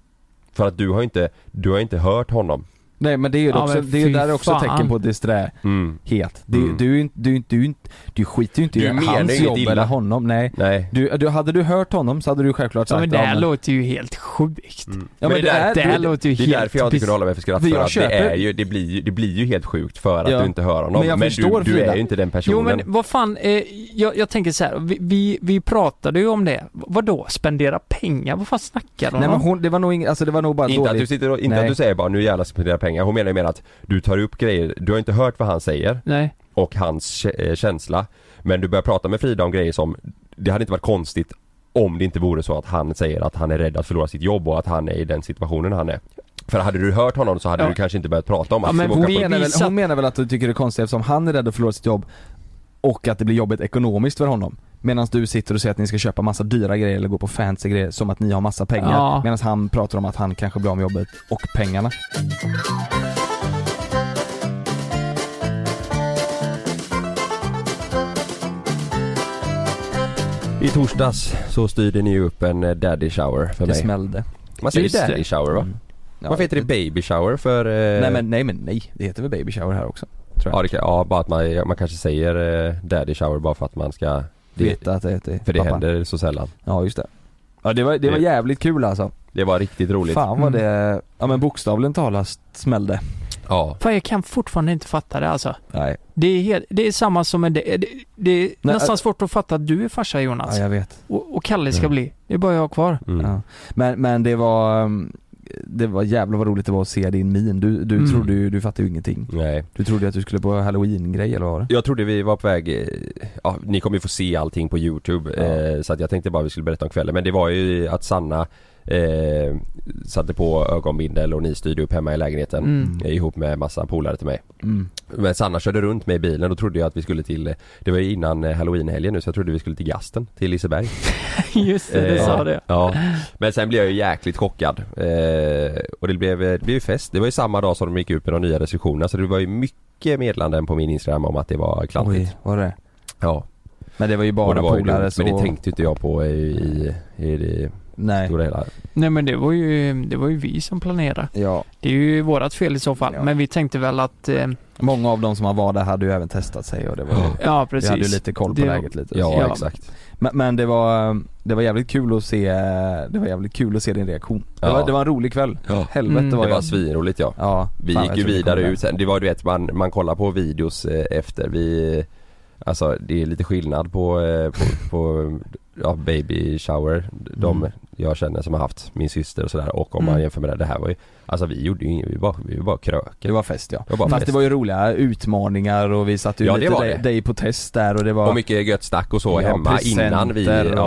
För att du har ju inte, du har ju inte hört honom. Nej men det är ju Ja, också, men det är ju fy där också fan. tecken på disträhet. Mm. Det är ju- Du, är ju inte- du, är inte- du, är inte- du skiter ju inte Du i menar hans inget jobb illa. eller honom, nej. nej. Du, du, hade du hört honom så hade du självklart sagt Ja, men det här men- låter ju helt sjukt. Mm. Ja, men det där- det här det- låter ju Det är helt... därför jag inte kunde hålla mig för skratt För för, jag att det, köper- är ju, det, blir ju, det blir ju helt sjukt för att Ja. du inte hör honom. Men jag förstår, du, du Frida. är ju inte den personen. Jo men vad fan, eh, jag, jag tänker så här. Vi, vi, vi pratade ju om det. V- Vadå, spendera pengar? Vad fan snackar de Nej men om? hon, det var nog ing, alltså det var nog bara inte dåligt. att, du sitter och, inte Nej. att du säger bara nu jävlar ska jag spendera pengar. Hon menar ju mer att du tar upp grejer, du har inte hört vad han säger Nej. och hans kä- eh, känsla. Men du börjar prata med Frida om grejer som, det hade inte varit konstigt om det inte vore så att han säger att han är rädd att förlora sitt jobb och att han är i den situationen han är. För hade du hört honom så hade Ja. du kanske inte börjat prata om att ja, men ska vi hon, åka på- menar väl, hon menar väl att du tycker det är konstigt eftersom han är rädd att förlora sitt jobb och att det blir jobbigt ekonomiskt för honom. Medan du sitter och säger att ni ska köpa massa dyra grejer eller gå på fancy grejer som att ni har massa pengar. Ja. Medan han pratar om att han kanske blir av med jobbet och pengarna. I torsdags så styrde ni ju upp en eh, daddy shower för Det mig. smällde. Man säger Just det. Mm. daddy shower va? Ja, Varför heter det baby shower för... Eh... Nej men nej men nej, det heter väl baby shower här också? tror Ja, det kan, ja bara att man, man kanske säger eh, daddy shower bara för att man ska... Det, Veta att det heter För det pappa. händer så sällan. Ja just det. Ja det var, det var Det- jävligt kul alltså. Det var riktigt roligt. Fan Mm. vad det, ja men bokstavligen talat smällde. Ja. Fan jag kan fortfarande inte fatta det alltså. Nej. Det är, helt, det är samma som en... Det, det, det är Nej, nästan äh- svårt att fatta att du är farsa Jonas. Alltså. Ja, Mm. jag vet. Och, och Kalle ska Ja. bli. Det är bara jag kvar. Mm. Ja. Men, men det var, um, det var jävlar vad roligt det var att se din min. Du, du Mm. trodde ju, du fattade ju ingenting. Nej. Du trodde ju att du skulle på halloween-grej eller vad var det? Jag trodde vi var på väg, eh, ja, ni kommer ju få se allting på youtube eh, så att jag tänkte bara vi skulle berätta om kvällen men det var ju att Sanna eh, satte på ögonbindel och ni styrde upp hemma i lägenheten Mm. eh, ihop med massa polare till mig. Mm. Men Sanna körde runt med i bilen och trodde jag att vi skulle till, eh, det var ju innan eh, halloweenhelgen nu så jag trodde vi skulle till Gasten, till Liseberg. Just det, du Eh, sa ja, det. Ja. Men sen blev jag ju jäkligt chockad. Eh, och det blev, det blev ju fest. Det var ju samma dag som de gick ut med de nya restriktionerna så det var ju mycket meddelanden på min Instagram om att det var klantigt. Oj, var det Ja. Men det var ju bara Och det var ju polare dumt, så... Men det tänkte inte jag på i, i, i det Nej. stora hela. Nej men det var ju, det var ju vi som planerade. Ja. Det är ju vårat fel i så fall. Men vi tänkte väl att... Eh, Många av de som var där hade ju även testat sig och det var Ja, precis. Vi hade ju lite koll på Det- läget lite. Ja, Ja. exakt. Men, men det var, mm, det var jävligt kul att se, det var jävligt kul att se din reaktion. Det, Ja. var, det var en rolig kväll. Helvete Mm. Det vad var jag... svinroligt ja. ja Vi fan, gick jag ju tror vi vidare kommer ut sen. Det var du vet, man, man kollar på videos eh, efter. Vi, eh, alltså det är lite skillnad på, eh, på, på ja, baby shower. De Mm. jag känner som har haft min syster och sådär. Och om man Mm. jämför med det, det här var ju, alltså vi gjorde ju inget, vi var, vi var bara kröker. Det var fest ja. Det var bara Fast fest. det var ju roliga utmaningar och vi satte ju Ja, det lite var dig, det. dig på test där och det var... Och mycket gött snack och så Ja, hemma innan vi, presenter och-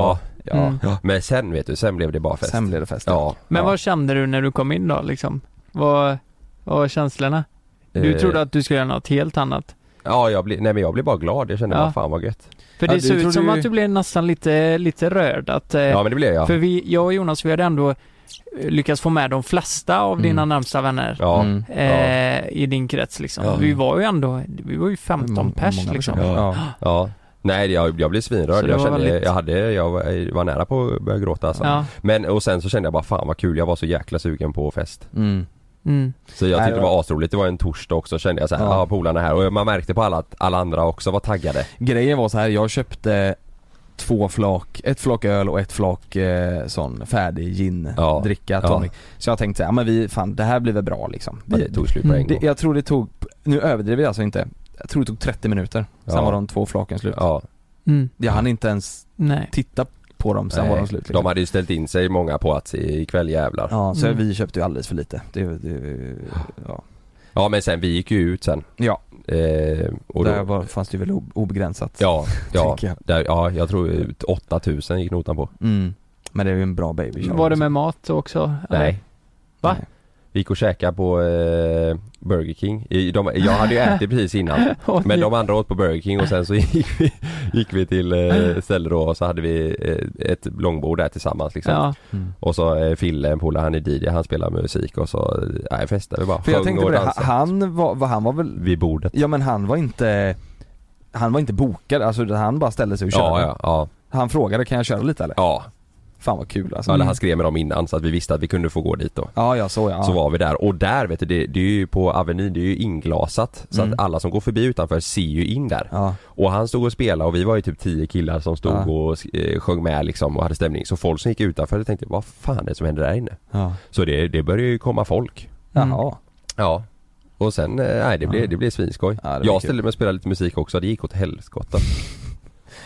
ja, ja. Mm. Men sen vet du, sen blev det bara fest. Sen blev det fest. Ja. Men vad kände du när du kom in då liksom? Vad, vad var känslorna? Du Eh. trodde att du skulle göra något helt annat. Ja, jag blev, nej men jag blev bara glad. Jag kände Ja. bara fan vad gött. För det såg ut som att du blev nästan lite, lite rörd att... eh, Ja, men det blev jag. För vi, jag och Jonas, vi hade ändå eh, lyckats få med de flesta av dina närmsta vänner. Mm. Ja. Mm. Eh, I din krets liksom. Ja. Vi var ju ändå, vi var ju 15 pers liksom. Ja. ja. Nej jag, jag blev Så svinrörd. det Jag, var kände, väldigt- jag, hade, jag var- jag var nära på att börja gråta alltså. Ja. Men och sen så kände jag bara fan vad kul, jag var så jäkla sugen på fest. Mm. Mm. Så Nej, jag tyckte det det var- var asroligt, det var en torsdag också kände jag såhär, Ja. ja ah, polarna är här och man märkte på alla att alla andra också var taggade. Grejen var så här, jag köpte två flak, ett flak öl och ett flak eh, sån färdig gin, dricka, Ja. tonic. Så jag tänkte så här, ja men vi, fan det här blir väl bra liksom. Men det tog slut på en det, gång. Jag tror det tog, nu överdriver jag alltså inte, jag tror det tog 30 minuter. Sen Ja. var de två flaken slut. Ja. Mm. Jag hann inte ens Nej. titta på dem, sen Nej, var de slut liksom. De hade ju ställt in sig många på att se ikväll jävlar. Ja, så Mm. vi köpte ju alldeles för lite. Det, det, ja. Ja men sen vi gick ju ut sen. Ja. Eh, och då, Där var, fanns det ju väl ob- obegränsat. Ja, ja, Tänker jag. där, ja jag tror ut 8000 gick notan på. Mm. Men det är ju en bra baby alltså. Mm. shower. Var det med mat också? alltså. Nej. Va? Vi gick och käkade på eh, Burger King. I, de, jag hade ju ätit precis innan. Oj. Men de andra åt på Burger King och sen så gick vi, gick vi till eh, ställe då och så hade vi eh, ett långbord där tillsammans liksom. Ja. Och så eh, Fille, en polare, han är DJ, han spelar musik och så, eh, nej festade vi bara. För jag Sjöng tänkte på och det, han, dansade. han var, var- han var väl... Vid bordet. Ja men han var inte, han var inte bokad, alltså han bara ställde sig och körde. Ja, ja, ja. Han frågade, kan jag köra lite eller? Ja. Fan vad kul alltså. Ja, eller han skrev med dem innan så att vi visste att vi kunde få gå dit då. Ja, ja så ja. Så var vi där och där vet du, det, det är ju på Avenyn, det är ju inglasat så Mm. att alla som går förbi utanför ser ju in där. Ja. Och han stod och spelade och vi var ju typ tio killar som stod Ja. och eh, sjöng med liksom och hade stämning. Så folk som gick utanför tänkte vad fan är det som händer där inne? Mm. Ja. Så det, det började ju komma folk. Jaha. Ja. Och sen, eh, nej det blev, det blev svinskoj. det var jag kul. ställde mig och spelade lite musik också, det gick åt helskotta.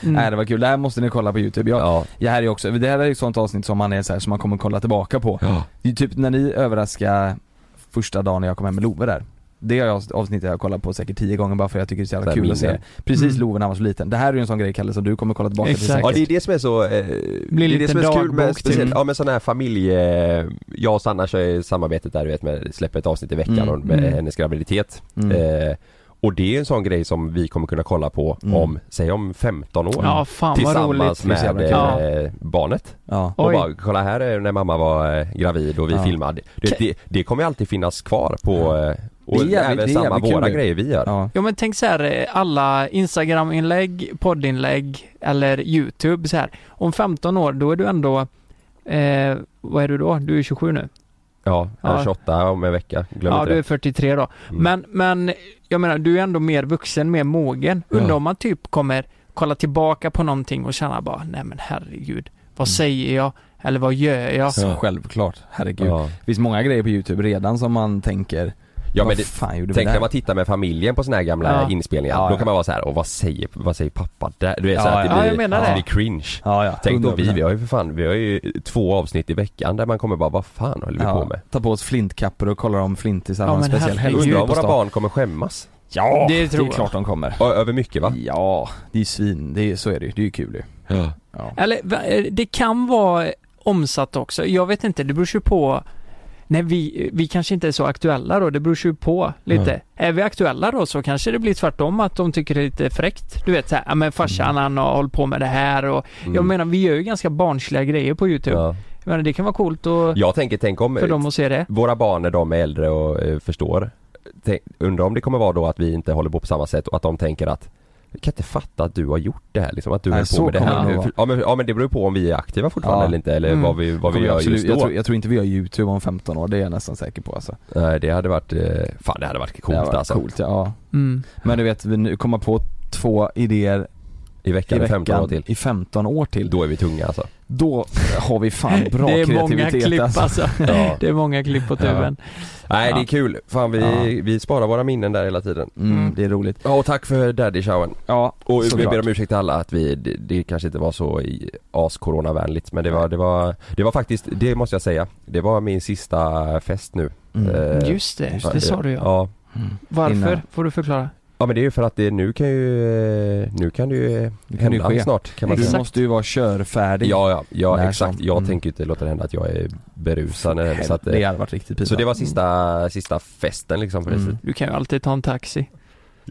Mm. Nej det var kul, det här måste ni kolla på youtube. Jag, ja. jag här är också, det här är ett sånt avsnitt som man är så här, som man kommer kolla tillbaka på. Ja. Det är Typ när ni överraskade första dagen när jag kom hem med Love där. Det är jag- avsnittet jag har kollat på säkert tio gånger bara för jag tycker det är så Så jävla här kul att minnen. se. Precis Mm. Love när han var så liten. Det här är ju en sån grej Kalle som du kommer kolla tillbaka till Ja det är säkert. det som är så, eh, det är det lite som är så kul med dagbok, speciellt, typ. ja men sån här familje, eh, jag och Sanna kör ju samarbetet där du vet med, släpper ett avsnitt i veckan Mm. och med Mm. hennes graviditet. Mm. Eh, och det är en sån grej som vi kommer kunna kolla på Mm. om, säg om 15 år. Ja, fan, vad roligt. tillsammans Det är så med jävla kul. eh, barnet. Ja. Och Oj. bara, kolla här är när mamma var eh, gravid och vi Ja. filmade. Det, det, det kommer alltid finnas kvar på, eh, och Det är jävligt- även det är samma jävligt kul våra ju. grejer vi gör. Ja. Ja men tänk så här, eh, alla Instagram-inlägg, poddinlägg eller YouTube så här. Om 15 år, då är du ändå, eh, vad är du då? Du är 27 nu? Ja, jag är Ja. 28 om en vecka, glöm ja, inte du är det. 43 då. Mm. Men, men jag menar, du är ändå mer vuxen, mer mogen. Undrar Ja. om man typ kommer kolla tillbaka på någonting och känna bara, nej men herregud, vad Mm. säger jag? Eller vad gör jag? Så Alltså, självklart, herregud. Ja. Det finns många grejer på youtube redan som man tänker, Ja, men vad det, fan gjorde vi tänk där? när man tittar med familjen på såna här gamla Ja. inspelningar, Ja, då ja. kan man vara så här, och vad säger, vad säger pappa där? Du vet Ja, så att det ja. blir, Ja, jag menar det det. blir cringe. Ja, ja, Tänk då vi, 100%. vi har ju för fan, vi har ju två avsnitt i veckan där man kommer bara, vad fan håller vi Ja, på med? Ta på oss flintkappor och kolla om flintisar Ja, har en men speciell herregud. helg Undrar om på våra stan. barn kommer skämmas? Ja, Det det, tror är jag. klart de kommer. Ö- Över mycket va? Ja, det är ju svin, det är, så är det ju, det är ju kul ju. Ja. Eller va- eh, det kan vara omsatt också. Jag vet inte, det beror ju på Nej, vi, eh, vi kanske inte är så aktuella då. Det beror ju på lite. Mm. Är vi aktuella då så kanske det blir tvärtom att de tycker det är lite fräckt. Du vet såhär, ja men farsan han har hållit på med det här och jag Mm. menar vi gör ju ganska barnsliga grejer på typ YouTube. Jag menar det kan vara coolt och Jag tänker, tänk om för dem att se det. våra barn när de är äldre och eh, förstår tänk, Undrar om det kommer vara då att vi inte håller på på samma sätt och att de tänker att "Jag kan inte fatta att du har gjort det här liksom, att du Nej, höll så på med det kommer det här nog nu." ja men, ja men det beror ju på om vi är aktiva fortfarande Ja. eller inte eller Mm. vad vi, vad vi Kommer gör absolut- just då Jag tror, jag tror inte vi gör YouTube om 15 år, det är jag nästan säker på alltså. Nej det hade varit, eh, fan det hade varit coolt det hade varit alltså coolt, ja. Mm. Men du vet, vi nu kommer på två idéer I veckan, i 15 år till. i 15 år till. Då är vi tunga alltså Då har vi fan bra det är många kreativitet klipp alltså. Ja. Det är många klipp på tuben. Nej det Ja. är kul, fan vi, Ja. vi sparar våra minnen där hela tiden Mm, det är roligt. Ja och tack för daddy showen Ja, Och vi såklart. ber om ursäkt till alla att vi, det, det kanske inte var så i- as-coronavänligt men det var, det var, det var faktiskt, det måste jag säga Det var min sista fest nu Mm. Eh, Just det, det sa du ja. Ja, Mm. Varför? Innan. Får du förklara. ja men det är ju för att det, nu kan ju, eh, nu kan det ju eh, Det kan ju hända ske. snart kan man du säga måste ju vara körfärdig. Ja, ja, ja När exakt. som- Jag mm. tänker ju inte låta det hända att jag är berusad när det händer, så att, eh, Det hade varit riktigt pinsamt. Så det var sista, sista festen liksom på det sättet. Du kan ju alltid ta en taxi.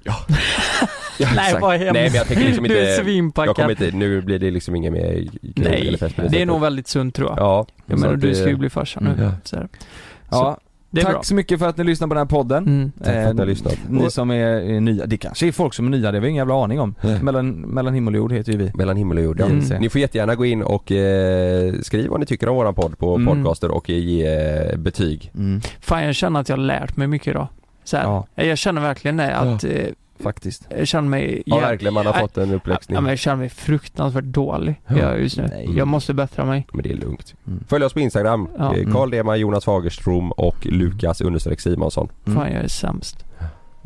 Ja, Nej, exakt. vad hemskt. Nej men jag tänker liksom inte, Du är svinpackad. jag kommer inte, nu blir det liksom inget mer kul eller Nej, fest på det är sättet. nog väldigt sunt tror jag. Ja. Jag så menar att du det- ska ju bli farsa nu. Mm. Så här. Ja, det är tack bra. så mycket för att ni lyssnar på den här podden. Eh, Mm. Tack för att ni har lyssnat. Ni som är, är nya, det kanske är folk som är nya, det har vi ingen jävla aning om. Mellan, mellan himmel och jord heter ju vi. eh, Mellan himmel och jord ja. Mm. Ni får jättegärna gå in och eh, skriva vad ni tycker om våran podd på Mm. podcaster och ge eh, betyg. Fan jag känner att jag har lärt mig mycket idag. Så här. Eh, Jag känner verkligen det att eh, Faktiskt. jag känner mig Ja jäv- verkligen, man har Nej, fått en uppläxning. Ja, men jag känner mig fruktansvärt dålig Ja. ja. just nu. Nej. Jag måste bättra mig. Men det är lugnt. Följ oss på Instagram, Ja. Eh, Carl Dema, Jonas Fagerström och Lukas understreck Simonsson. Mm. Fan jag är sämst.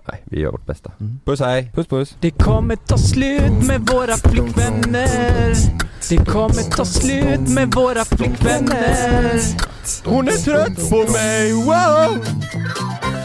Nej, vi gör vårt bästa. Puss hej! Puss puss! Det kommer ta slut med våra flickvänner. Det kommer ta slut med våra flickvänner. Hon är trött på mig, wow!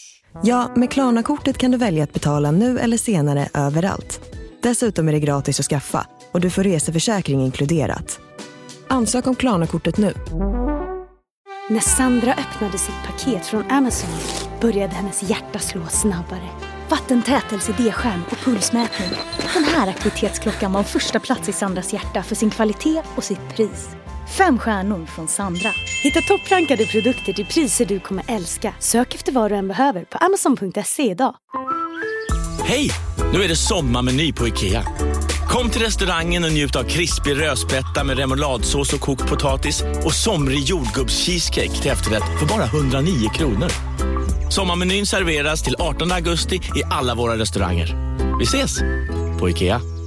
Ja, med Klarna-kortet kan du välja att betala nu eller senare överallt. Dessutom är det gratis att skaffa och du får reseförsäkring inkluderat. Ansök om Klarna-kortet nu. När Sandra öppnade sitt paket från Amazon började hennes hjärta slå snabbare. Vattentätelse, D-skärm och pulsmätning. Den här aktivitetsklockan var första plats i Sandras hjärta för sin kvalitet och sitt pris. Fem stjärnor från Sandra. Hitta topprankade produkter till priser du kommer älska. Sök efter vad du än behöver på amazon.se idag. Hej! Nu är det sommarmeny på IKEA. Kom till restaurangen och njut av krispig rödspätta med remouladsås och kokt potatis och somrig jordgubbscheesecake till efterrätt för bara 109 kronor. Sommarmenyn serveras till 18 augusti i alla våra restauranger. Vi ses! På IKEA.